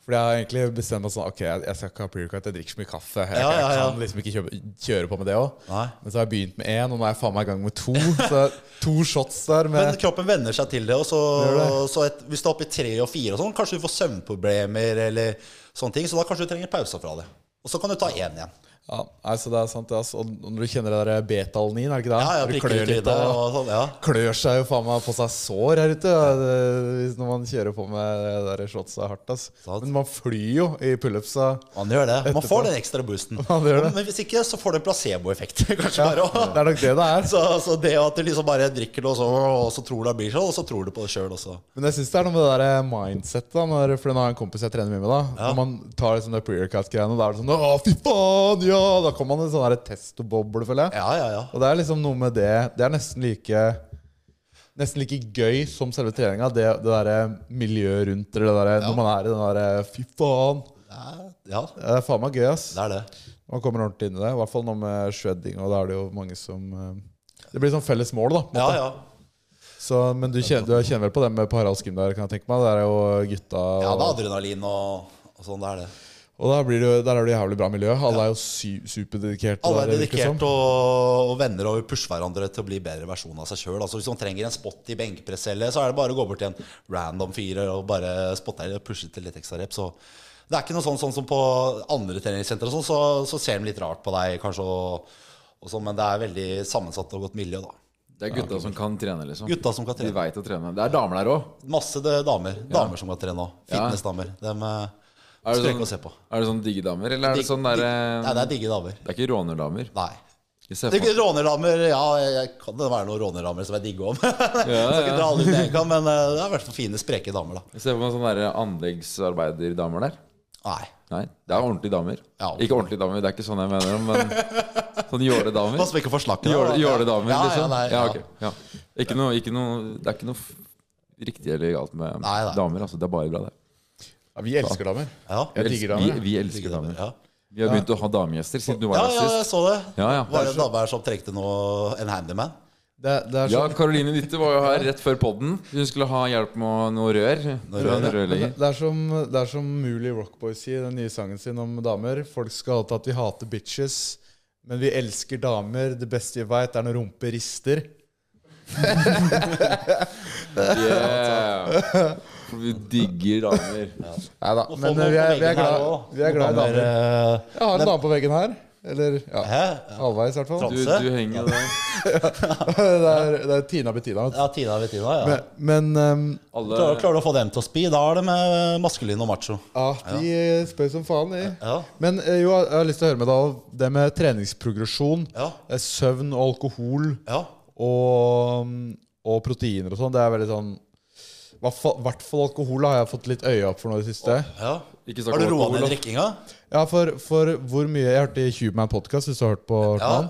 Speaker 3: Fordi jeg har egentlig bestemt meg sånn Ok, jeg, jeg skal ikke ha pre-workout, jeg drikker så mye kaffe.
Speaker 2: Ja,
Speaker 3: Jeg,
Speaker 2: ja,
Speaker 3: jeg
Speaker 2: ja.
Speaker 3: kan liksom ikke kjøpe, kjøre på med det òg.
Speaker 2: Nei.
Speaker 3: Men så har jeg begynt med én, og nå er jeg faen meg i gang med to. Så det er to shots der
Speaker 2: Men
Speaker 3: med
Speaker 2: kroppen venner seg til det. Og så,
Speaker 3: Gjør
Speaker 2: så et, hvis du er oppe i tre og fire, og sånn, kanskje du får søvnproblemer, eller sånne ting, så da kanskje du trenger pauser fra det. Og så kan du ta én igjen.
Speaker 3: Ja, nei, så det er sant, det, altså. Og når du kjenner det der beta-alanin, er det ikke det?
Speaker 2: Ja, ja,
Speaker 3: Når du
Speaker 2: prikker
Speaker 3: klør
Speaker 2: litt i
Speaker 3: litt
Speaker 2: det
Speaker 3: og-
Speaker 2: og sånn, ja.
Speaker 3: klør seg jo faen meg på seg sår her ute ja, det- hvis- når man kjører på med det der shotsa hardt. Ass.
Speaker 2: Sant.
Speaker 3: Men man flyr jo i pullupsa.
Speaker 2: Man gjør det. Man
Speaker 3: Etterpå.
Speaker 2: får den ekstra boosten.
Speaker 3: Man gjør det.
Speaker 2: Men hvis ikke, så får du en placeboeffekt. Kanskje
Speaker 3: Ja,
Speaker 2: bare
Speaker 3: det
Speaker 2: også.
Speaker 3: er nok det det er.
Speaker 2: så, så det at du liksom bare drikker det, og så, og så tror du det blir sånn, og så tror du på det sjøl også.
Speaker 3: Men jeg syns det er noe med det der mindsettet. da, Når, for nå har jeg en kompis jeg trener mye med. da
Speaker 2: Ja.
Speaker 3: Når man tar liksom det pre-workout-greiene, da er det sånn Å, fy faen, ja! Da kommer man i en sånn der testoboble, føler jeg.
Speaker 2: Ja, ja, ja.
Speaker 3: Og det er liksom noe med det Det er nesten like Nesten like gøy som selve treninga. Det, det derre miljøet rundt eller det derre når man er i den derre Fy faen!
Speaker 2: Ja, Ja,
Speaker 3: Det er faen meg gøy, ass.
Speaker 2: det er det.
Speaker 3: Man kommer ordentlig inn i det. I hvert fall nå med shredding. Og da er det jo mange som eh, Det blir sånn felles mål, da. på en
Speaker 2: Ja,
Speaker 3: måte.
Speaker 2: ja.
Speaker 3: Så, men du kjenner, du kjenner vel på det med på Haralds gym der, kan jeg tenke meg. Der er jo gutta og,
Speaker 2: Ja, det er adrenalin og, og sånn, det er det.
Speaker 3: Og der, blir det, jo- der er det jo jævlig bra miljø. Alle er jo sy, superdedikerte.
Speaker 2: Alle er
Speaker 3: der, virker det som.
Speaker 4: sånn.
Speaker 2: dedikert og, og venner og vil pushe hverandre til å bli bedre versjon av seg sjøl. Altså, hvis man trenger en spot i benkpress, eller så er det bare å gå bort til en random fyr og bare spotte eller pushe til litt ekstra rep. Så det er ikke noe sånn, sånn som på andre treningssentre, og sånn, så, så ser de litt rart på deg kanskje. Og, og sånn, men det er veldig sammensatt og godt miljø, da.
Speaker 4: Det er gutta som kan trene, liksom.
Speaker 2: Gutta som kan
Speaker 4: De
Speaker 2: trene.
Speaker 4: veit å trene. Det er damer der òg.
Speaker 2: Masse det, damer. Damer som kan trene òg. Fitnessdamer. Dem eh,
Speaker 4: Er, det
Speaker 2: skal ikke å se på.
Speaker 4: sånn, er det sånn digge damer, eller er det sånn
Speaker 2: Digg-
Speaker 4: derre
Speaker 1: eh,
Speaker 2: digg- Nei, det er digge damer.
Speaker 4: Det er ikke rånerdamer.
Speaker 2: Nei.
Speaker 4: Jeg ser for
Speaker 2: Det er ikke Rånerdamer Ja, jeg kan det være noen rånerdamer som jeg digger om. Skal
Speaker 4: ja.
Speaker 2: ikke dra alle ut i en kam, men eh, det er i hvert fall fine, spreke damer, da.
Speaker 4: Jeg ser for meg sånne der anleggsarbeiderdamer der.
Speaker 2: Nei.
Speaker 4: Nei, det er ordentlige damer.
Speaker 2: Ja.
Speaker 4: Ikke ordentlige damer, det er ikke sånn jeg mener dem, men sånn jåledamer.
Speaker 2: Pass på ikke å forslakke
Speaker 4: Jåle- Jåledamer,
Speaker 2: ja, ja,
Speaker 4: liksom.
Speaker 2: nei,
Speaker 4: Ja, ok. Ja. Ikke noe, ikke noe, det er ikke noe f- riktig eller galt med
Speaker 2: Nei, nei.
Speaker 4: damer. Altså, det er bare bra, det.
Speaker 3: Ja, vi elsker damer.
Speaker 2: Ja.
Speaker 3: Jeg
Speaker 4: Vi
Speaker 3: digger
Speaker 4: elsker-
Speaker 3: damer.
Speaker 4: Vi, vi elsker damer.
Speaker 2: Ja.
Speaker 4: Vi har begynt å ha damegjester siden du
Speaker 2: ja,
Speaker 4: var her
Speaker 2: ja, jeg
Speaker 4: sist.
Speaker 2: så det.
Speaker 4: Ja, ja.
Speaker 2: Var det en dame her som trengte noe En handyman?
Speaker 3: Det, det er
Speaker 4: Ja,
Speaker 3: sånn
Speaker 4: Karoline Ditte var jo her rett før podden. Hun skulle ha hjelp med noe rør.
Speaker 2: rør,
Speaker 4: Noe
Speaker 2: ja.
Speaker 4: rørlegger.
Speaker 3: det er som, det er som Mooley Rockboy sier i den nye sangen sin om damer. Folk skal alltid at vi hater bitches, men vi elsker damer. Det beste vi veit, er når rumpe rister.
Speaker 4: Yeah. For Vi digger damer.
Speaker 3: Nei da,
Speaker 2: Nå får
Speaker 3: men eh,
Speaker 2: man
Speaker 3: vi
Speaker 2: på
Speaker 3: er, vi, er
Speaker 2: veggen her
Speaker 3: glad,
Speaker 2: også.
Speaker 3: vi er glad i
Speaker 2: Noen
Speaker 3: damer.
Speaker 2: damer, eh,
Speaker 3: Jeg har en dame på veggen her. Eller ja,
Speaker 2: Hæ?
Speaker 3: halvveis, i hvert fall.
Speaker 4: Du, du henger jo der.
Speaker 3: Det er, det er Tina Bettina. vet du.
Speaker 2: Ja, Tina ved Tina, ja.
Speaker 3: Men ehm,
Speaker 4: Alle
Speaker 2: Klarer, klarer du å få dem til å spy? Da er det med maskulin og macho.
Speaker 3: ja, de eh, spør som faen, de.
Speaker 2: Ja.
Speaker 3: Men eh, jo, jeg har lyst til å høre med deg om det med treningsprogresjon.
Speaker 2: Ja.
Speaker 3: eh, Søvn og alkohol
Speaker 2: Ja.
Speaker 3: og, og proteiner og sånn. Det er veldig sånn I hvert fall- hvert fall alkohol har jeg fått litt øye opp for nå i det siste.
Speaker 2: ja.
Speaker 4: Ikke snakk
Speaker 2: Har du
Speaker 4: om
Speaker 2: roa
Speaker 4: alkohol,
Speaker 2: ned
Speaker 4: da.
Speaker 2: drikkinga?
Speaker 3: Ja, for, for hvor mye Jeg hørte i Hubeman Podcast, hvis du har hørt på hørt på
Speaker 2: Ja.
Speaker 3: han,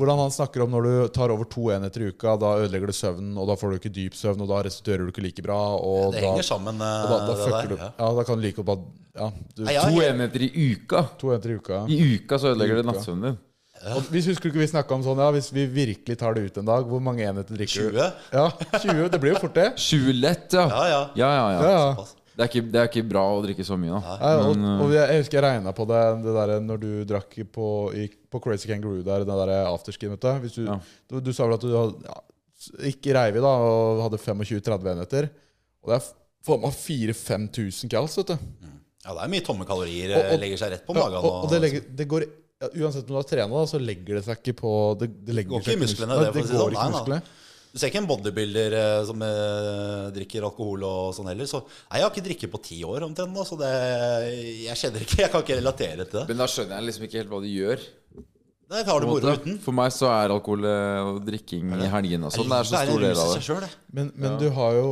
Speaker 3: hvordan han snakker om når du tar over to enheter i uka, da ødelegger du søvnen, og da får du ikke dyp søvn, og da restituerer du ikke like bra, og
Speaker 2: Det
Speaker 3: da,
Speaker 2: henger sammen,
Speaker 3: og da, da
Speaker 2: eh, det
Speaker 3: fucker du
Speaker 2: der. Ja.
Speaker 3: Ja, da kan du like godt bare Ja, du,
Speaker 2: Nei, ja,
Speaker 4: To
Speaker 2: jeg-
Speaker 4: enheter i uka.
Speaker 3: to enheter i uka.
Speaker 4: I uka så ødelegger det nattsøvnen din.
Speaker 3: Og hvis husker du ikke vi snakka om sånn, ja, hvis vi virkelig tar det ut en dag, hvor mange enheter drikker du?
Speaker 2: 20?
Speaker 3: Ja, 20. Det blir jo fort det.
Speaker 4: 20 lett, ja.
Speaker 2: Ja, ja.
Speaker 4: Ja, ja,
Speaker 3: Ja,
Speaker 4: ja.
Speaker 3: ja.
Speaker 2: Pass.
Speaker 4: Det, er ikke, det er ikke bra å drikke så mye, da.
Speaker 3: Ja, og,
Speaker 2: eh,
Speaker 3: og jeg, jeg husker jeg regna på det Det der når du drakk på, i, på Crazy Kangaroo der, den der afterskin. Vet du. Hvis du, du, du sa vel at du hadde, ja, ikke reiv i da, og hadde 25-30 enheter. Og det er f- faen meg 4000-5000 kals, vet du.
Speaker 2: Ja, det er mye tomme kalorier.
Speaker 3: Og- og-
Speaker 2: eh, legger seg rett på
Speaker 3: Ja,
Speaker 2: magen.
Speaker 3: og, og det, legger, det går ja, Uansett om du har trena, da, så legger det seg ikke på Det, det legger
Speaker 2: Går ikke i
Speaker 3: seg
Speaker 2: musklene,
Speaker 3: Nei,
Speaker 2: det, for å si det
Speaker 3: går
Speaker 2: sånn.
Speaker 3: ikke i
Speaker 2: Nei, nei.
Speaker 3: musklene.
Speaker 2: Du ser ikke en bodybuilder eh, som eh, drikker alkohol og sånn heller. Så nei, jeg har ikke drikket på ti år omtrent nå, så det, jeg kjenner ikke Jeg kan ikke relatere til det.
Speaker 4: Men da skjønner jeg liksom ikke helt hva du gjør.
Speaker 2: Det har du moro uten.
Speaker 4: For meg så er alkohol eh, og drikking i helgene og sånn. Det er så
Speaker 2: en
Speaker 4: stor del
Speaker 2: rus i
Speaker 4: av
Speaker 2: seg
Speaker 4: det.
Speaker 2: selv, det.
Speaker 3: Men, men du har jo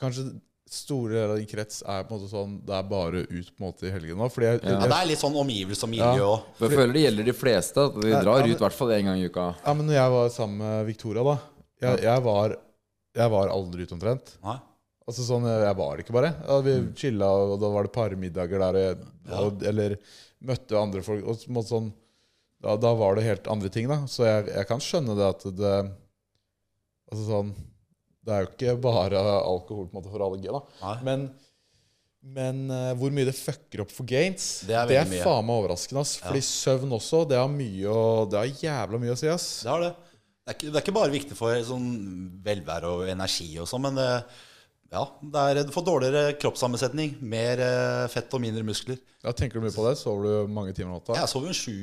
Speaker 3: kanskje store deler av din krets er på en måte sånn Det er bare ut på en måte i helgen nå. Fordi jeg,
Speaker 2: Ja, det er litt sånn omgivelse og miljø
Speaker 3: Ja.
Speaker 2: òg.
Speaker 4: For jeg føler det gjelder de fleste. At de
Speaker 3: Nei, ja,
Speaker 4: drar
Speaker 3: men-
Speaker 4: ut i hvert fall én gang i uka.
Speaker 3: Ja, men når jeg var sammen med Victoria, da Jeg, jeg, var, jeg var aldri ute omtrent.
Speaker 2: Nei.
Speaker 3: Altså sånn, Jeg var det ikke, bare. Ja, vi
Speaker 2: Mm.
Speaker 3: chilla, og da var det parmiddager der, og, jeg- og, eller møtte andre folk. Og så på en måte sånn da, da var det helt andre ting, da. Så jeg, jeg kan skjønne det at det Altså sånn Det er jo ikke bare alkohol på en måte for alle, G, da.
Speaker 2: Nei.
Speaker 3: Men, men eh, hvor mye det fucker opp for gains,
Speaker 2: Det er veldig mye.
Speaker 3: faen meg overraskende. ass Fordi søvn også, det har mye å Det har jævla mye å si, ass.
Speaker 2: Det er det. Det er ikke, det er ikke bare viktig for sånn velvære og energi og sånn, men eh, ja, det er, du får dårligere kroppssammensetning, mer eh, fett og mindre muskler.
Speaker 3: Ja, tenker du mye på det? Sover du mange timer om natta?
Speaker 2: Jeg sover jo sju,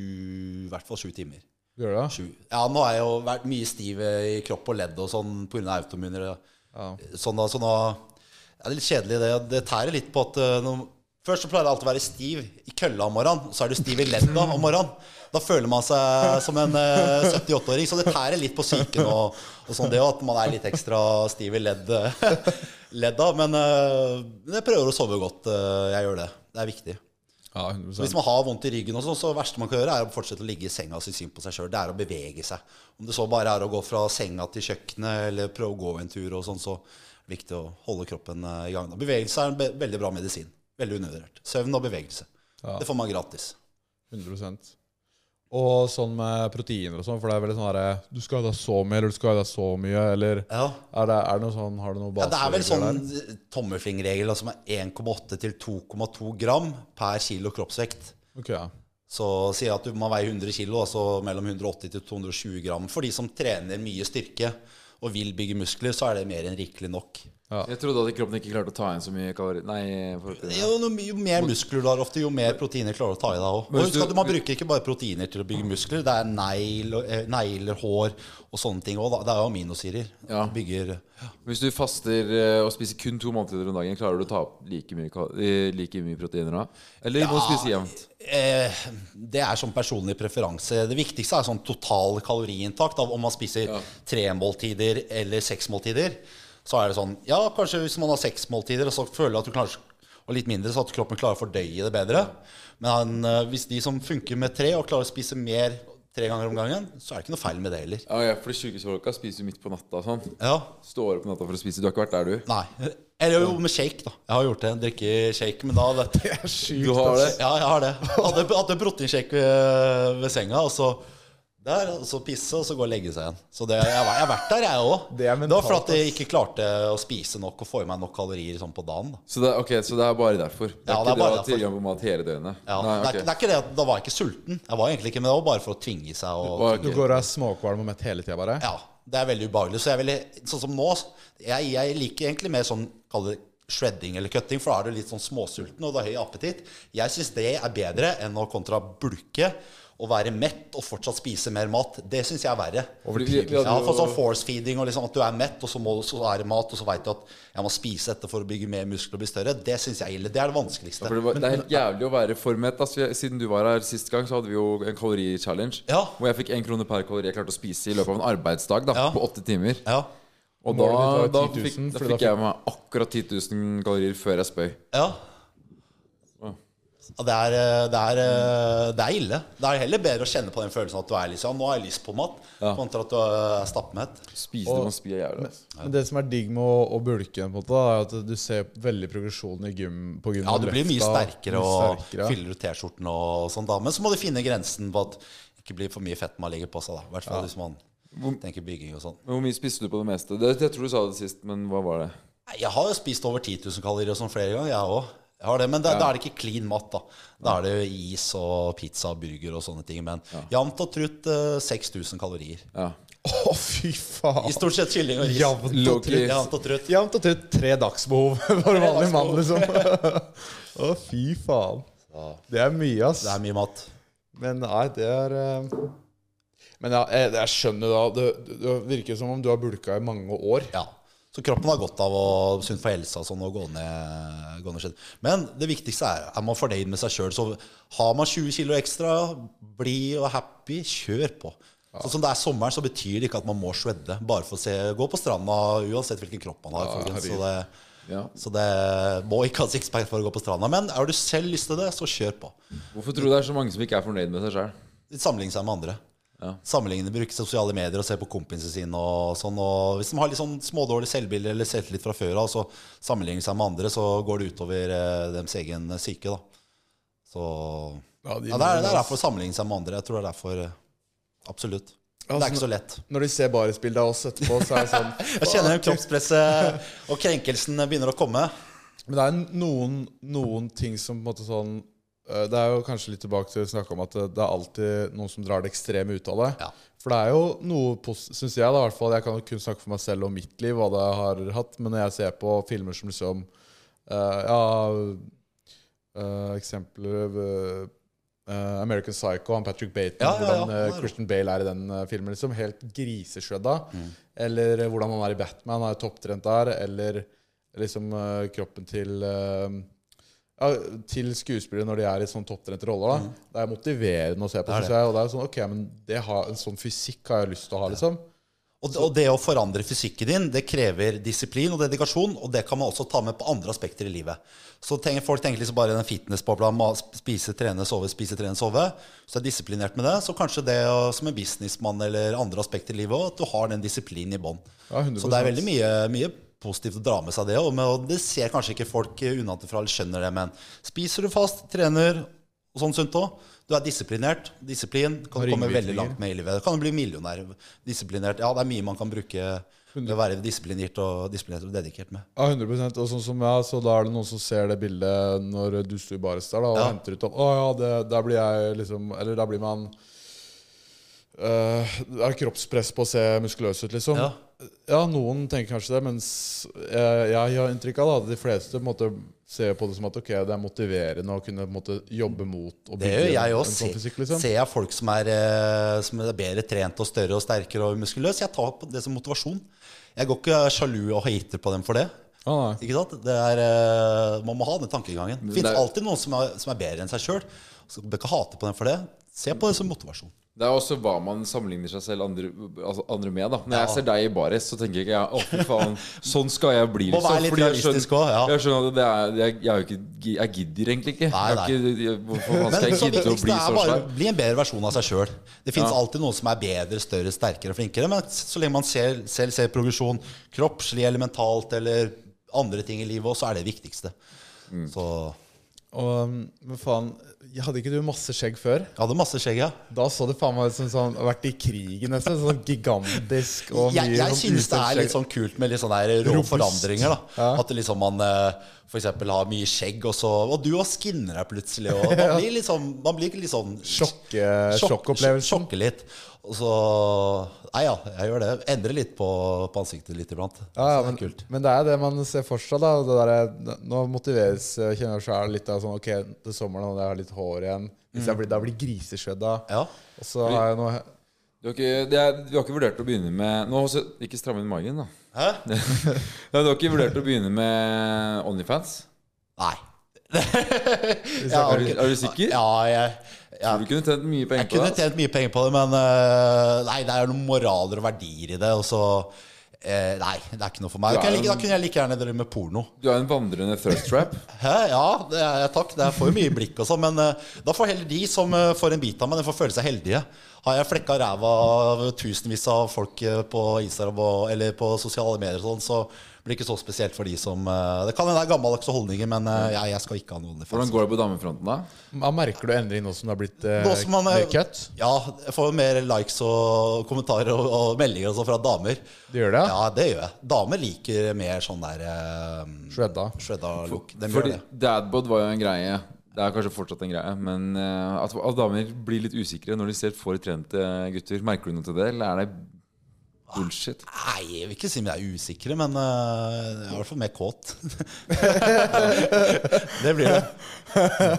Speaker 2: i hvert fall sju timer.
Speaker 3: Gjør du det?
Speaker 2: Sju. Ja, nå har jeg jo vært mye stiv eh, i kropp og ledd og sånn pga. autoimmuner. Ja. Sånn da, sånn da, det er litt kjedelig, det. Det tærer litt på at eh, når, Først så pleier jeg alltid å være stiv i kølla om morgenen, så er du stiv i ledda om morgenen. Da føler man seg som en eh, 78-åring, så det tærer litt på psyken og, og sånn det òg, at man er litt ekstra stiv i ledd, ledda. Men eh, men jeg prøver å sove godt. eh, Jeg gjør det. Det er viktig.
Speaker 3: Ja,
Speaker 2: Så
Speaker 3: 100
Speaker 2: Hvis man har vondt i ryggen, og sånn, så det verste man kan gjøre, er å fortsette å ligge i senga og synes synd på seg sjøl. Det er å bevege seg. Om det så bare er å gå fra senga til kjøkkenet, eller prøve å gå en tur, og sånn, så er det viktig å holde kroppen eh, i gang. da. Bevegelse er en be veldig bra medisin. Veldig undervurdert. Søvn og bevegelse. Det får man gratis.
Speaker 3: 100 Og sånn med proteiner og sånn, for det er veldig sånn herre Du skal ha i deg så mye, eller du skal ha i deg så mye, eller
Speaker 2: Ja.
Speaker 3: er det, er det noe sånn, Har du noe
Speaker 2: Ja, det er vel
Speaker 3: baseregler
Speaker 2: sånn
Speaker 3: der?
Speaker 2: tommelfingerregel da, som er 1,8 til 2,2 gram per kilo kroppsvekt.
Speaker 3: Ok, ja.
Speaker 2: Så sier jeg at du må veie 100 kg, altså mellom 180 til 220 gram. For de som trener mye styrke og vil bygge muskler, så er det mer enn rikelig nok.
Speaker 1: Jeg trodde at kroppen ikke klarte å ta inn så mye kalorier. Nei, for
Speaker 2: Det er Jo, noe- jo mer muskler du har ofte, jo mer proteiner klarer du å ta i deg òg. Og
Speaker 1: Men hvis
Speaker 2: husk at
Speaker 1: du-
Speaker 2: man bruker ikke bare proteiner til å bygge muskler. Det er negl, eh, negler, hår og sånne ting òg. Det er jo aminosyrer.
Speaker 1: Ja.
Speaker 2: Bygger
Speaker 1: Hvis du faster eh, og spiser kun to måltider om dagen, klarer du å ta opp like mye, kal- eh, like mye proteiner da? Eller må du spise jevnt?
Speaker 2: Eh, det er sånn personlig preferanse. Det viktigste er sånn total kaloriinntakt. Av om man spiser tre måltider eller seks måltider, så er det sånn Ja, kanskje hvis man har seks måltider, og så føler at du kanskje og litt mindre, så at kroppen klarer å fordøye det bedre. Men han, eh, hvis de som funker med tre, og klarer å spise mer tre ganger om gangen, så er det ikke noe feil med det heller.
Speaker 1: Ja, ja, for de sjukeste folka spiser jo midt på natta og sånn.
Speaker 2: Ja,
Speaker 1: Står opp på natta for å spise. Du har ikke vært der, du?
Speaker 2: nei. Eller jo med shake, da. Jeg har gjort det. Drikke shake, men da Det er
Speaker 1: Du har det?
Speaker 2: Ja, jeg har det. Hadde, hadde proteinshake ved, ved senga, og så der, og så pisse, og så gå og legge seg igjen. Så det, jeg, var- jeg har vært der, jeg òg.
Speaker 3: Det er mentalt,
Speaker 2: var for at jeg
Speaker 3: ass.
Speaker 2: ikke klarte å spise nok og få i meg nok kalorier sånn på dagen. Da.
Speaker 1: Så det, er- ok, så det er bare derfor? Det er
Speaker 2: Ja, det er
Speaker 1: ikke det
Speaker 2: bare
Speaker 1: å ha
Speaker 2: derfor.
Speaker 1: tilgang på mat hele døgnet?
Speaker 2: Ja,
Speaker 1: Nei, ok.
Speaker 2: det, er, ikke- det er ikke det at da var jeg ikke sulten. Jeg var egentlig ikke, men det var bare for å tvinge seg. Og,
Speaker 1: Bare-
Speaker 3: Du går og er småkvalm og mett hele tida, bare?
Speaker 2: Ja, det er veldig ubehagelig. Så jeg er veldig, sånn som nå, jeg, jeg liker egentlig mer sånn, kall det shredding eller cutting, for da er du litt sånn småsulten, og du har høy appetitt. Jeg syns det er bedre enn å kontra bulke og være mett og fortsatt spise mer mat. Det syns jeg er verre.
Speaker 1: Fordi vi- vi hadde
Speaker 2: Ja,
Speaker 1: jo-
Speaker 2: for sånn force feeding og liksom at du er mett, og så, må, så er det mat, og så veit du at jeg må spise dette for å bygge mer muskler og bli større. Det syns jeg er ille. Det er det vanskeligste.
Speaker 1: For det, var, det er helt jævlig å være for mett. Altså, jeg- siden du var her sist gang, så hadde vi jo en kalori-challenge.
Speaker 2: Ja.
Speaker 1: Hvor jeg fikk én krone per kalori jeg klarte å spise i løpet av en arbeidsdag da,
Speaker 2: Ja.
Speaker 1: på åtte timer.
Speaker 2: Ja,
Speaker 1: Og da,
Speaker 3: Målet ditt
Speaker 1: da,
Speaker 3: var 10 000,
Speaker 1: fikk, da
Speaker 3: fordi da
Speaker 1: fikk jeg meg akkurat 10 000 kalorier før jeg spøy.
Speaker 2: ja. Ja, Det er, eh, det, er, eh, det er ille. Det er heller bedre å kjenne på den følelsen at du er liksom, nå har jeg lyst på mat, kontra at du eh, er stappmett.
Speaker 1: Spise det man spiser jævlig. Altså.
Speaker 3: Men det som er digg med å, å bulke, på en måte, da, er at du ser veldig progresjon i gym, på gym
Speaker 2: Ja, du blir mye sterkere og
Speaker 3: sterkere.
Speaker 2: fyller ut T-skjorten og sånn, da. Men så må du finne grensen på at det ikke blir for mye fett man legger på seg, da. I hvert fall hvis man tenker bygging og sånn.
Speaker 1: Men Hvor mye spiste du på det meste? Det, jeg tror du sa det sist, men hva var det?
Speaker 2: Nei, Jeg har jo spist over 10 000 kalorier og sånn flere ganger, jeg òg. Jeg har det, men da, da er det ikke clean mat, da. Da er det jo is og pizza og burger og sånne ting. Men jevnt og trutt eh, 6000 kalorier.
Speaker 1: Ja.
Speaker 3: Å, fy
Speaker 2: I
Speaker 3: faen!
Speaker 2: stort sett kylling og ris.
Speaker 3: Jevnt og
Speaker 1: Low-key. trutt.
Speaker 2: Jevnt og trutt.
Speaker 3: Jevnt og trutt tre dagsbehov for en vanlig mann, liksom. Å, fy faen.
Speaker 2: Ja.
Speaker 3: Det er mye, ass.
Speaker 2: Det er mye mat.
Speaker 3: Men nei, det er eh, Men ja, jeg, jeg skjønner da. Det, det- det virker som om du har bulka i mange år.
Speaker 2: Ja. Så kroppen har godt av å sunt for helsa og sånn, og gå ned, gå ned skjedd. Men det viktigste er er man fornøyd med seg sjøl. Så har man 20 kg ekstra, blid og happy, kjør på. Sånn som det er sommeren, så betyr det ikke at man må shredde. Bare for å se, gå på stranda uansett hvilken kropp man har. folkens. Så det,
Speaker 1: Ja.
Speaker 2: så det må ikke ha sixpack for å gå på stranda. Men har du selv lyst til det, så kjør på.
Speaker 1: Hvorfor tror du det er så mange som ikke er fornøyd med seg sjøl?
Speaker 2: Litt sammenligne seg med andre.
Speaker 1: Ja.
Speaker 2: Sammenligne, bruke sosiale medier og se på kompisene sine. og sånn, og Hvis de har litt sånn smådårlig selvbilde eller selvtillit fra før av, så sammenligner de seg med andre, eh, så går det utover eh, deres egen psyke. da. Så
Speaker 3: Ja, de
Speaker 2: Ja, det, er, det er derfor å sammenligne seg med andre. Jeg tror det er derfor eh, Absolutt. Det er ikke så lett.
Speaker 3: Når de ser barisbildet av oss etterpå, så er det sånn
Speaker 2: Altså, Jeg kjenner den kroppspresset og krenkelsen begynner å komme.
Speaker 3: Men det er noen, noen ting som på en måte sånn eh, Det er jo kanskje litt tilbake til å snakke om at det det er alltid noen som drar det ekstreme ut av det.
Speaker 2: Ja.
Speaker 3: For det er jo noe, syns jeg, da, i hvert fall Jeg kan jo kun snakke for meg selv og mitt liv, hva det har hatt, men når jeg ser på filmer som liksom eh, Ja, eh, eksempler eh, eh, American Psycho, han Patrick Baton,
Speaker 2: Ja, ja, ja.
Speaker 3: hvordan eh, Christian Bale er i den eh, filmen. liksom Helt griseshredda.
Speaker 2: Mm.
Speaker 3: Eller eh, hvordan han er i Batman, han er topptrent der. Eller liksom eh, kroppen til eh, ja, Til skuespillere når de er i sånn topptrente roller. Da. Det er motiverende å se på,
Speaker 2: Mm. Det er
Speaker 3: synes jeg. Og det er sånn, ok, men det har, en sånn fysikk har jeg lyst til å ha, liksom.
Speaker 2: Og det, og det å forandre fysikken din, det krever disiplin og dedikasjon, og det kan man også ta med på andre aspekter i livet. Så tenker, folk tenker liksom bare den fitnessbobla, ma- spise, trene, sove, spise, trene, sove. Så er jeg disiplinert med det. Så kanskje det å- som en businessmann eller andre aspekter i livet òg, at du har den disiplinen i bånn.
Speaker 3: Ja, 100%.
Speaker 2: så det er veldig mye, mye positivt å dra med seg det. Og, med, og det ser kanskje ikke folk eh, unnafra eller skjønner det, men spiser du fast, trener og sånn sunt òg, du er disiplinert. Disiplin kan
Speaker 3: Har
Speaker 2: du komme veldig
Speaker 3: ringvirkninger.
Speaker 2: langt med i livet. Kan du bli millionær. Disiplinert. Ja, det er mye man kan bruke ved å være disiplinert og, disiplinert og dedikert med.
Speaker 3: Ja, 100 Og sånn som jeg, så da er det noen som ser det bildet når du sto i baris der, da, og
Speaker 2: Ja.
Speaker 3: henter ut at Å ja, det, der blir jeg liksom Eller der blir man øh, Det er kroppspress på å se muskuløs ut, liksom.
Speaker 2: Ja.
Speaker 3: Ja, noen tenker kanskje det, mens jeg, jeg har inntrykk av da, at de fleste på en måte ser på det som at ok, det er motiverende å kunne på en måte jobbe mot og
Speaker 2: Det gjør jeg
Speaker 3: en,
Speaker 2: òg.
Speaker 3: en sånn fysikk, liksom.
Speaker 2: Ser jeg folk som er, eh, som er bedre trent og større og sterkere og muskuløse, jeg tar på det som motivasjon. Jeg går ikke sjalu og hater på dem for det.
Speaker 3: Ja, nei.
Speaker 2: Ikke sant? Det er, eh, man må ha den tankegangen. Det
Speaker 1: det
Speaker 2: fins
Speaker 1: er-
Speaker 2: alltid noen som er, som er bedre enn seg sjøl. Du bør ikke hate på dem for det. Se på det som motivasjon.
Speaker 1: Det er også hva man sammenligner seg selv andre, altså andre med. da Når jeg ser deg i baris, så tenker jeg ikke Å, fy faen, sånn skal jeg bli.
Speaker 2: Må være litt
Speaker 1: Fordi jeg
Speaker 2: realistisk
Speaker 1: skjønner-
Speaker 2: også, ja.
Speaker 1: Jeg skjønner at det er Jeg, jeg, er jo ikke, gi- jeg gidder egentlig ikke.
Speaker 2: Nei,
Speaker 1: Jeg er ikke jeg, hvorfor faen
Speaker 2: Men
Speaker 1: skal jeg
Speaker 2: så
Speaker 1: gidde å
Speaker 2: viktigste
Speaker 1: bli
Speaker 2: er
Speaker 1: så
Speaker 2: bare
Speaker 1: svær?
Speaker 2: å bli en bedre versjon av seg sjøl. Det fins alltid noen som er bedre, større, sterkere, flinkere. Men så lenge man ser, selv ser progresjon kroppslig eller mentalt eller andre ting i livet, også, så er det det viktigste.
Speaker 1: Mm.
Speaker 2: Så jeg
Speaker 3: Og, um, men faen, hadde ikke du masse skjegg før?
Speaker 2: hadde masse skjegg, ja.
Speaker 3: Da så det faen meg ut som sånn, vært i krigen nesten. Sånn gigantisk og mye
Speaker 2: Jeg, jeg
Speaker 3: sånn
Speaker 2: syns det er
Speaker 3: utstøtt
Speaker 2: litt sånn kult med litt sånne her rå
Speaker 3: Robust.
Speaker 2: forandringer. da
Speaker 3: Ja.
Speaker 2: At det liksom man f.eks. har mye skjegg, og så Og du også skinner deg plutselig. Og man blir liksom Man blir ikke litt sånn
Speaker 3: Sjokke- eh, sjokkopplevelsen.
Speaker 2: Sjokke litt. Og så Nei ja, jeg gjør det. Endrer litt på, på ansiktet litt iblant. Så
Speaker 3: Ja, ja,
Speaker 2: det
Speaker 3: men,
Speaker 2: er kult.
Speaker 3: men det er det man ser for seg. da og det der, Nå motiveres eh, kjenner jeg selv litt av sånn Ok, til sommeren og jeg har litt hår igjen. Hvis
Speaker 2: Mm.
Speaker 3: jeg blir, da blir griseskjødda.
Speaker 2: Ja.
Speaker 3: Og så har jeg noe
Speaker 1: Du har ikke, det er, du har ikke vurdert å begynne med Nå, så, Ikke stramme inn magen, da.
Speaker 2: Hæ?
Speaker 1: Nei, du har ikke vurdert å begynne med Onlyfans?
Speaker 2: Nei.
Speaker 3: jeg
Speaker 2: har
Speaker 1: er du-
Speaker 2: ikke-
Speaker 1: er du sikker?
Speaker 2: Ja, jeg, jeg
Speaker 1: Du kunne tjent mye penger
Speaker 2: Jeg
Speaker 1: på
Speaker 2: kunne
Speaker 1: det. ass.
Speaker 2: tjent mye penger på det, men eh, nei, det er noen moraler og verdier i det. Og så eh, Nei, det er ikke noe for meg. Da kunne jeg, like- da kunne jeg like gjerne drevet med porno.
Speaker 1: Du er en vandrende thirst trap.
Speaker 2: Hæ? Ja, det er, takk. Det er for mye blikk og sånn, men eh, da får heller de som eh, får en bit av meg, de får føle seg heldige. Har jeg flekka ræva av tusenvis av folk eh, på Instagram og, eller på sosiale medier og sånn, så blir det ikke så spesielt for de som eh, Det kan hende det er gammeldagse holdninger, men eh, jeg, jeg skal ikke ha noen
Speaker 1: Hvordan går det på damefronten, da?
Speaker 3: Ja, Merker du endring nå som det har blitt eh,
Speaker 2: Nå som man er-
Speaker 3: mer cut?
Speaker 2: Ja, jeg får mer likes og kommentarer og, og meldinger og sånn fra damer.
Speaker 3: Du gjør det?
Speaker 2: Ja, det gjør jeg. Damer liker mer sånn der um,
Speaker 3: Shredda.
Speaker 2: shredda look. De gjør
Speaker 1: Fordi
Speaker 2: det.
Speaker 1: dadbod var jo en greie. Det er kanskje fortsatt en greie, men eh, at, at damer blir litt usikre når de ser for trente gutter. Merker du noe til det, eller er det bullshit?
Speaker 2: Nei, jeg vil ikke si vi er usikre, men uh, jeg er i hvert fall mer kåt. det blir det.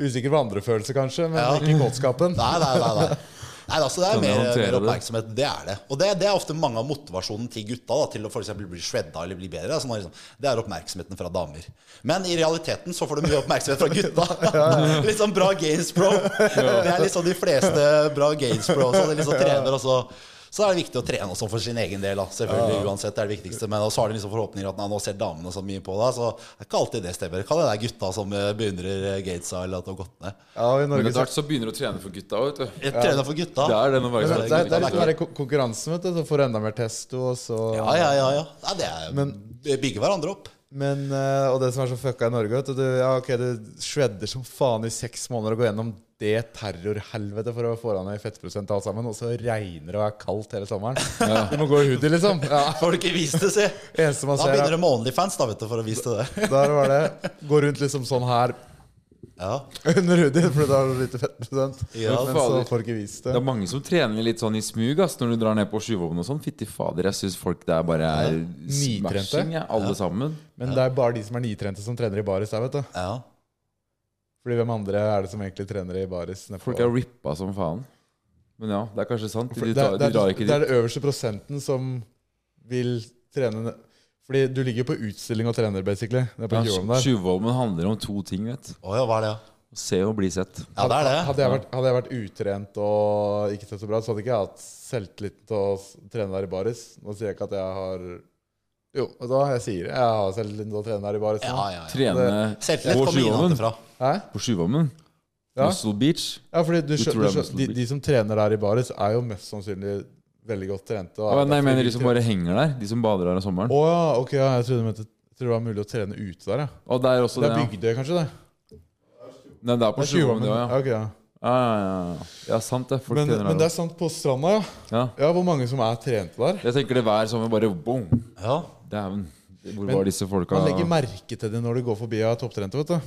Speaker 3: Usikker på andre følelser, kanskje, men
Speaker 2: Ja.
Speaker 3: ikke kåtskapen.
Speaker 2: Nei, nei, nei. nei. Nei, altså Det er
Speaker 1: Kan jeg
Speaker 2: mer,
Speaker 1: håndtere
Speaker 2: mer
Speaker 1: det?
Speaker 2: oppmerksomhet. Det er det. Og det, det er ofte mange av motivasjonen til gutta da, til å for eksempel bli shredda eller bli bedre. Altså, man liksom, det er oppmerksomheten fra damer. Men i realiteten så får du mye oppmerksomhet fra gutta. litt sånn bra gains pro. Det er liksom de fleste bra gains pro. Så, de liksom trener, og så, så er det viktig å trene også for sin egen del. Da. Selvfølgelig uansett det er det viktigste Men så har de liksom forhåpninger at nei, nå ser damene så mye på deg. Så det er ikke alltid det stemmer. Kan det være gutta som eh, beundrer eh, gatesa eller at det har gått ned.
Speaker 3: Ja, i
Speaker 1: Men
Speaker 3: Norge
Speaker 1: etter hvert så begynner du å trene for gutta òg, vet du.
Speaker 2: Jeg trener for gutta.
Speaker 1: Det er det å
Speaker 3: så,
Speaker 1: være
Speaker 3: men det, det, er- det er litt
Speaker 1: sånn.
Speaker 3: mer ko- konkurransen, vet du. Så får du enda mer testo, og så
Speaker 2: Ja, ja, ja. ja. Nei, det er,
Speaker 3: Men-
Speaker 2: det bygger hverandre opp.
Speaker 3: Men, eh, og det som er så fucka i Norge, vet du, du ja, ok, du shredder som faen i seks måneder og går gjennom det terrorhelvetet for å få deg ned i fettprosent og alt sammen, og så regner det og er kaldt hele sommeren. Du må gå i hoodie, liksom. Ja.
Speaker 2: Får du ikke vist det, si!
Speaker 3: Eneste man
Speaker 2: Da
Speaker 3: ser,
Speaker 2: begynner de med Onlyfans da, vet du, for å vise til det.
Speaker 3: er, der var det. Gå rundt liksom sånn her
Speaker 2: Ja.
Speaker 3: under hoodien, for da har du lite fettprosent.
Speaker 2: Ja,
Speaker 3: Men så
Speaker 1: fader.
Speaker 3: får du ikke vist
Speaker 1: Det
Speaker 3: det.
Speaker 1: er mange som trener litt sånn i smug ass, når du drar ned på skyvåpen og sånn. Fytti fader, jeg syns folk der bare er
Speaker 3: Nitrente.
Speaker 1: smashing, ja, alle sammen.
Speaker 3: Men det er bare de som er nitrente, som trener i baris der, vet du.
Speaker 2: ja.
Speaker 3: Fordi hvem andre er det som egentlig trener i baris? nedpå-
Speaker 1: Folk er rippa som faen. Men ja, det er kanskje sant.
Speaker 3: For
Speaker 1: De,
Speaker 3: det,
Speaker 1: tar,
Speaker 3: er- det,
Speaker 1: de drar
Speaker 3: er,
Speaker 1: ikke
Speaker 3: det
Speaker 1: dit.
Speaker 3: er det øverste prosenten som vil trene ne- Fordi du ligger jo på utstilling og trener, basically. Det er på
Speaker 1: Ja,
Speaker 3: Gjøren der.
Speaker 1: Skyvåpen handler om to ting, vet du.
Speaker 2: Å ja, hva er det? ja?
Speaker 1: Å Se og bli sett.
Speaker 2: Ja, det er det.
Speaker 3: Hadde jeg, vært, hadde jeg vært utrent og ikke sett så bra ut, så hadde ikke jeg hatt selvtillit til å s- trene der i baris. Nå sier jeg ikke at jeg har Jo, og da jeg sier jeg har selvtillit til å trene der i baris.
Speaker 2: Ja,
Speaker 3: nå.
Speaker 2: ja, ja.
Speaker 1: Trene
Speaker 2: Selvtillit
Speaker 1: på
Speaker 2: kommer
Speaker 1: skyvåpen.
Speaker 2: innenfra.
Speaker 3: Hæ?
Speaker 1: På skyvåpen.
Speaker 3: Ja.
Speaker 1: Muscle Beach.
Speaker 3: ja, fordi du, skjø-
Speaker 1: tror
Speaker 3: du
Speaker 1: det er
Speaker 3: skjø- de, de som trener der i baris, er jo mest sannsynlig veldig godt trente. og
Speaker 1: Å,
Speaker 3: er
Speaker 1: nei, jeg
Speaker 3: derfor
Speaker 1: mener
Speaker 3: de
Speaker 1: de som
Speaker 3: tre-
Speaker 1: bare henger der. De som bader der om sommeren.
Speaker 3: Å ja, ok, ja, jeg trodde du mente jeg trodde det var mulig å trene ute der, ja.
Speaker 1: Og der også, det,
Speaker 3: Det er
Speaker 1: ja.
Speaker 3: Bygdøy, kanskje? det?
Speaker 1: Nei, det er på skyvåpen,
Speaker 3: Tjuvholmen,
Speaker 1: det også, ja.
Speaker 3: ok, ja.
Speaker 1: Ja, ja, ja, ja. ja, sant det. Folk
Speaker 3: Men,
Speaker 1: trener
Speaker 3: men
Speaker 1: der
Speaker 3: det er
Speaker 1: også.
Speaker 3: sant på stranda, ja.
Speaker 1: Ja.
Speaker 3: Ja, Hvor mange som er trente der.
Speaker 1: Jeg tenker det hver sommer bare boom.
Speaker 2: Ja.
Speaker 1: Dæven. Hvor
Speaker 3: Men
Speaker 1: var disse folka?
Speaker 3: Man legger merke til det når du går forbi og er topptrente. vet du.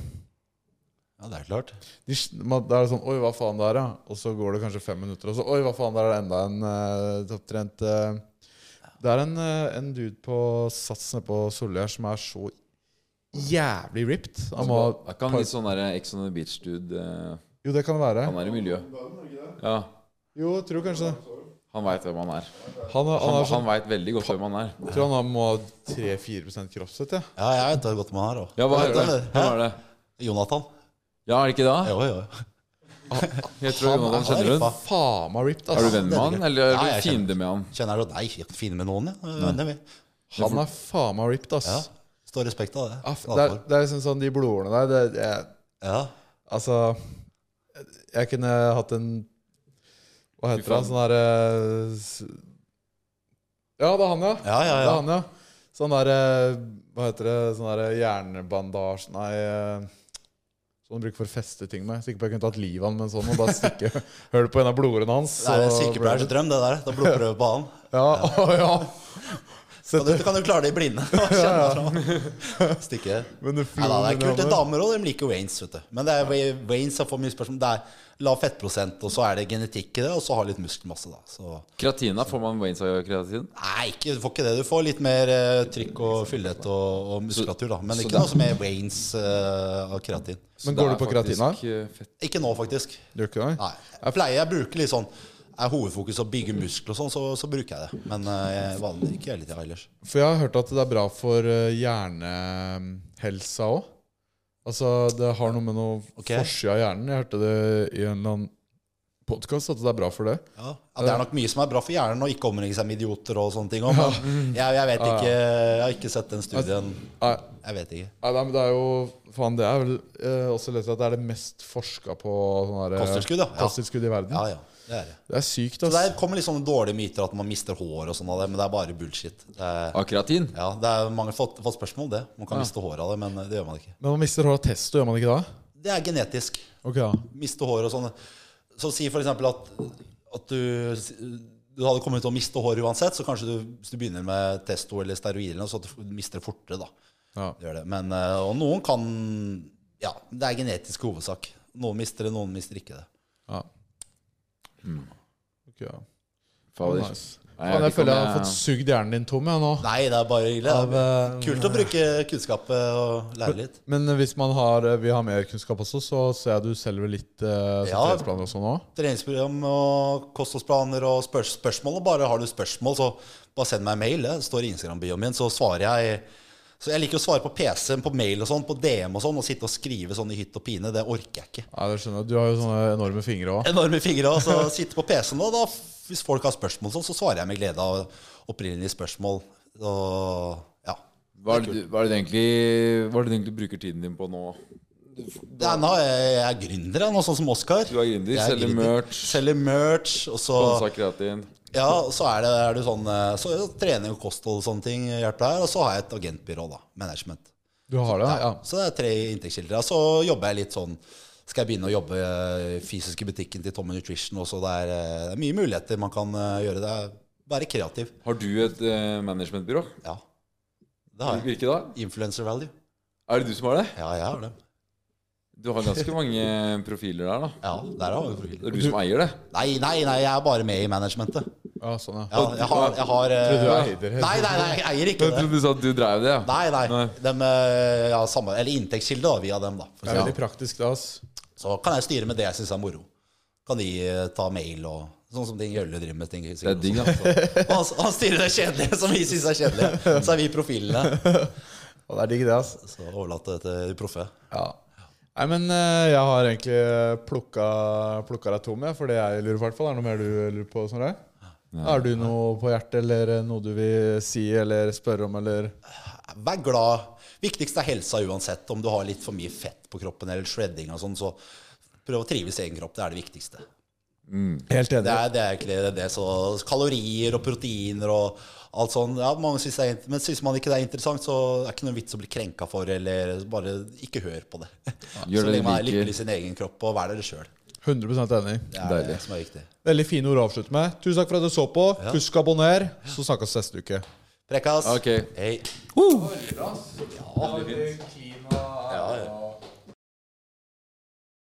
Speaker 2: ja, det er klart.
Speaker 3: De, s- man, da er det sånn Oi, hva faen der, ja. Og så går det kanskje fem minutter, og så Oi, hva faen, der er det enda en eh, topptrent eh. Det er en, eh, en dude på Sats nede på Solli her som er så jævlig ripped. Han må,
Speaker 1: Er ikke han litt sånn der Ex on the Beach-dude? eh,
Speaker 3: jo, det kan det være.
Speaker 1: Han er i miljøet. Ja,
Speaker 3: Jo, jeg tror kanskje det.
Speaker 1: han veit hvem han er.
Speaker 3: Han, er-
Speaker 1: Han,
Speaker 3: han er
Speaker 1: han
Speaker 3: sånn,
Speaker 1: veit veldig godt hvem han er.
Speaker 3: jeg tror han har- må ha 3-4 kroppsfett, jeg.
Speaker 2: Ja, jeg vet det godt man har òg.
Speaker 1: Ja, hva
Speaker 2: Vet
Speaker 1: heter
Speaker 2: du,
Speaker 1: det?
Speaker 2: hæ?
Speaker 1: Hvem er det?
Speaker 2: Jonathan.
Speaker 1: Ja, er det ikke det?
Speaker 2: Jo, jo.
Speaker 1: Jeg tror
Speaker 3: Han-
Speaker 1: Jonathan
Speaker 2: han er
Speaker 1: kjenner
Speaker 2: rippa.
Speaker 1: hun.
Speaker 3: Faen meg ripped,
Speaker 1: Er
Speaker 3: ass.
Speaker 1: du venn med han, eller
Speaker 2: Ja,
Speaker 1: er
Speaker 2: jeg
Speaker 1: du
Speaker 2: kjenner
Speaker 1: fiende med han?
Speaker 2: Kjenner du Nei, jeg er ikke fin med noen, jeg. Venner, vi.
Speaker 3: Han er faen meg ripped, ass.
Speaker 2: Ja. Står respekt av det.
Speaker 3: Ja, Ah, f- Det er, det er liksom sånn de blodårene der det, jeg,
Speaker 2: Ja.
Speaker 3: Altså Jeg kunne hatt en Hva heter han?
Speaker 1: faen.
Speaker 3: Sånn derre Ja, det er han, ja.
Speaker 2: Ja, ja,
Speaker 3: Det
Speaker 2: ja.
Speaker 3: er han, ja. Sånn derre Hva heter det? Sånn derre jernbandasje Nei eh, Sånn du bruker for å feste ting med. Sikker på jeg kunne tatt livet av han med en sånn og bare stikke høl på en av blodårene hans.
Speaker 2: Det er en
Speaker 3: så-
Speaker 2: sykepleiers drøm, det der. Da blodprøve på han.
Speaker 3: Ja, å, ja.
Speaker 2: Kan du, kan du klare det i blinde? Kjenne fra. Stikke.
Speaker 3: Men det
Speaker 2: Nei, da, det er
Speaker 3: flyr
Speaker 2: kult.
Speaker 3: under.
Speaker 2: Damer òg, de liker Waynes. vet du Men det er Wa- Waynes jeg får mye spørsmål Det er lav fettprosent, og så er det genetikk i det, og så har litt muskelmasse, da. Så
Speaker 1: Kreatina, får man Waynes av kreatin?
Speaker 2: Nei, ikke, du får ikke det. Du får litt mer eh, trykk og fyldighet og, og muskulatur, da. Men
Speaker 1: så
Speaker 2: ikke
Speaker 1: det-
Speaker 2: noe som er Waynes eh, av kreatin.
Speaker 1: Så
Speaker 3: Men
Speaker 1: det
Speaker 3: går du
Speaker 1: er
Speaker 3: på kreatin, da?
Speaker 1: faktisk, eh, fett.
Speaker 2: Ikke nå, faktisk.
Speaker 3: Gjør ikke det?
Speaker 2: Nei. Jeg pleier jeg bruker litt sånn Er hovedfokus å bygge muskler og sånn, så, så bruker jeg det. Men eh, jeg vanlig ikke hele tida ellers.
Speaker 3: For jeg har hørt at det er bra for eh, hjernehelsa òg. Altså, det har noe med noe
Speaker 2: Ok.
Speaker 3: forsida av hjernen. Jeg hørte det i en eller annen podkast at det er bra for det.
Speaker 2: Ja. Ja, det er nok mye som er bra for hjernen, og ikke omringe seg med idioter og sånne ting. også, Men jeg, jeg vet ikke Jeg har ikke sett den studien.
Speaker 3: Nei,
Speaker 2: Jeg vet ikke.
Speaker 3: nei, nei, men det er jo Faen, det er vel eh, også lest at det er det mest forska på sånne der, eh,
Speaker 2: Kosttilskudd, ja. Ja.
Speaker 3: kosttilskudd i verden.
Speaker 2: Ja, ja. Det er det.
Speaker 3: Det er sykt,
Speaker 2: Så
Speaker 3: ass.
Speaker 2: der kommer litt sånne dårlige myter at man mister hår og sånn av det, men det er bare bullshit. Det er,
Speaker 1: Av kreatin?
Speaker 2: Ja, det er mange har fått, fått spørsmål om det. Man kan miste håret av det, men det gjør man ikke.
Speaker 3: Men man mister hår av testo, gjør man ikke da?
Speaker 2: Det er genetisk.
Speaker 3: Ok, da.
Speaker 2: Miste hår og sånn. Så si for eksempel at, at du, du hadde kommet til å miste hår uansett, så kanskje du, hvis du begynner med testo eller steroider, eller noe, så at du mister det fortere, da.
Speaker 3: Ja.
Speaker 2: Det Gjør det. Men, eh, og noen kan Ja, det er genetisk hovedsak. Noen mister det, noen mister ikke det.
Speaker 3: ja.
Speaker 1: Mm,
Speaker 3: Ok, ja.
Speaker 1: Fader.
Speaker 3: Nice.
Speaker 1: Nei, vet
Speaker 3: Faen, jeg
Speaker 1: ikke om
Speaker 3: føler jeg har
Speaker 1: jeg-
Speaker 3: fått sugd hjernen din tom, jeg nå.
Speaker 2: Nei, det er bare hyggelig.
Speaker 3: Av,
Speaker 2: Det er
Speaker 3: eh,
Speaker 2: Kult å bruke kunnskap eh, og lære litt.
Speaker 3: Men hvis man har, vil ha mer kunnskap også, så ser jeg du selger litt uh,
Speaker 2: Ja.
Speaker 3: treningsplaner også nå.
Speaker 2: treningsprogram og kostholdsplaner og spør spørsmål. Og bare har du spørsmål, så bare send meg en mail. Det står i Instagram-bioen min, så svarer jeg. Så jeg liker å svare på PC, på mail og sånn, på DM og sånn. Og sitte og skrive sånn i hytt og pine, det orker jeg ikke.
Speaker 3: Nei, det skjønner jeg. Du har jo sånne enorme fingre òg.
Speaker 2: Enorme fingre. Og så sitte på PC-en, og da, hvis folk har spørsmål sånn, så svarer jeg med glede av opprinnelige spørsmål. Og ja.
Speaker 1: Hva er det, du- hva er det du egentlig, hva er det du egentlig bruker tiden din på nå?
Speaker 2: Det er, nå, jeg jeg er gründer, jeg, nå, sånn som Oskar.
Speaker 1: Du er gründer,
Speaker 2: Jeg er
Speaker 1: selger
Speaker 2: gründer.
Speaker 1: merch.
Speaker 2: Selger merch. Og så
Speaker 1: Sponsa kreatin.
Speaker 2: Ja, og så er det, eh, er det sånn eh, Så er det trening og kosthold og sånne ting hjelper der. Og så har jeg et agentbyrå, da. Management.
Speaker 3: Du har det? Ja.
Speaker 2: Så det er tre inntektskilder. Så jobber jeg litt sånn Skal jeg begynne å jobbe eh, i fysiske butikken til Tommy Nutrition også? Det er, eh, det er mye muligheter man kan eh, gjøre. Det er Være kreativ.
Speaker 1: Har du et eh, managementbyrå?
Speaker 2: Ja. Det har jeg.
Speaker 1: Hvilke da?
Speaker 2: Influencer value.
Speaker 1: Er det du som har det?
Speaker 2: Ja, jeg har det.
Speaker 1: Du har ganske mange profiler der, da.
Speaker 2: Ja, der har vi profilen.
Speaker 1: Det er du som eier det.
Speaker 2: Nei, nei, nei, jeg er bare med i managementet.
Speaker 3: ja, sånn, ja.
Speaker 2: Ja, jeg har, jeg har eh,
Speaker 3: Tror du er eier?
Speaker 2: Nei, nei, nei, jeg eier ikke
Speaker 1: Jeg
Speaker 2: det.
Speaker 1: trodde du sa at du dreiv det, ja.
Speaker 2: Nei, nei. Dem, eh, ja, samme, eller inntektskilde, da, via dem, da. For å
Speaker 3: Det er
Speaker 2: si
Speaker 3: veldig praktisk, da. ass.
Speaker 2: Så kan jeg styre med det jeg syns er moro. Kan de eh, ta mail og Sånn som Ding Jølle driver med. Ting, det
Speaker 1: er digg,
Speaker 2: og han, han styrer det kjedelige som vi syns er kjedelig. Så er vi profilene.
Speaker 3: Og det er digg, det. ass.
Speaker 2: Så overlate det til de proffe.
Speaker 3: Ja. Nei, men eh, jeg har egentlig plukka, plukka deg tom, jeg, for det jeg lurer på. i hvert fall. Er det noe mer du lurer på? Snorre? Har du noe på hjertet, eller eh, noe du vil si eller spørre om, eller
Speaker 2: Vær glad. Viktigst er helsa uansett. Om du har litt for mye fett på kroppen eller shredding og sånn, så prøv å trives i egen kropp. Det er det viktigste.
Speaker 3: Helt
Speaker 2: Det er, det er egentlig det. Så kalorier og proteiner og alt sånt. Ja, mange synes det er, int- men syns man ikke det er interessant, så er det ikke noen vits å bli krenka for, eller bare ikke hør på det.
Speaker 1: Gjør
Speaker 2: så
Speaker 1: det
Speaker 2: lenge man er
Speaker 1: du liker.
Speaker 2: lykkelig i sin egen kropp, og vær dere sjøl.
Speaker 3: 100 enig.
Speaker 2: Det er det som er viktig.
Speaker 3: Veldig fine ord å avslutte med. Tusen takk for at du så på. Husk å abonnere, så snakkes neste uke.
Speaker 2: Prekkas.
Speaker 1: Ok.
Speaker 2: Hei.
Speaker 3: Ja, det
Speaker 2: É,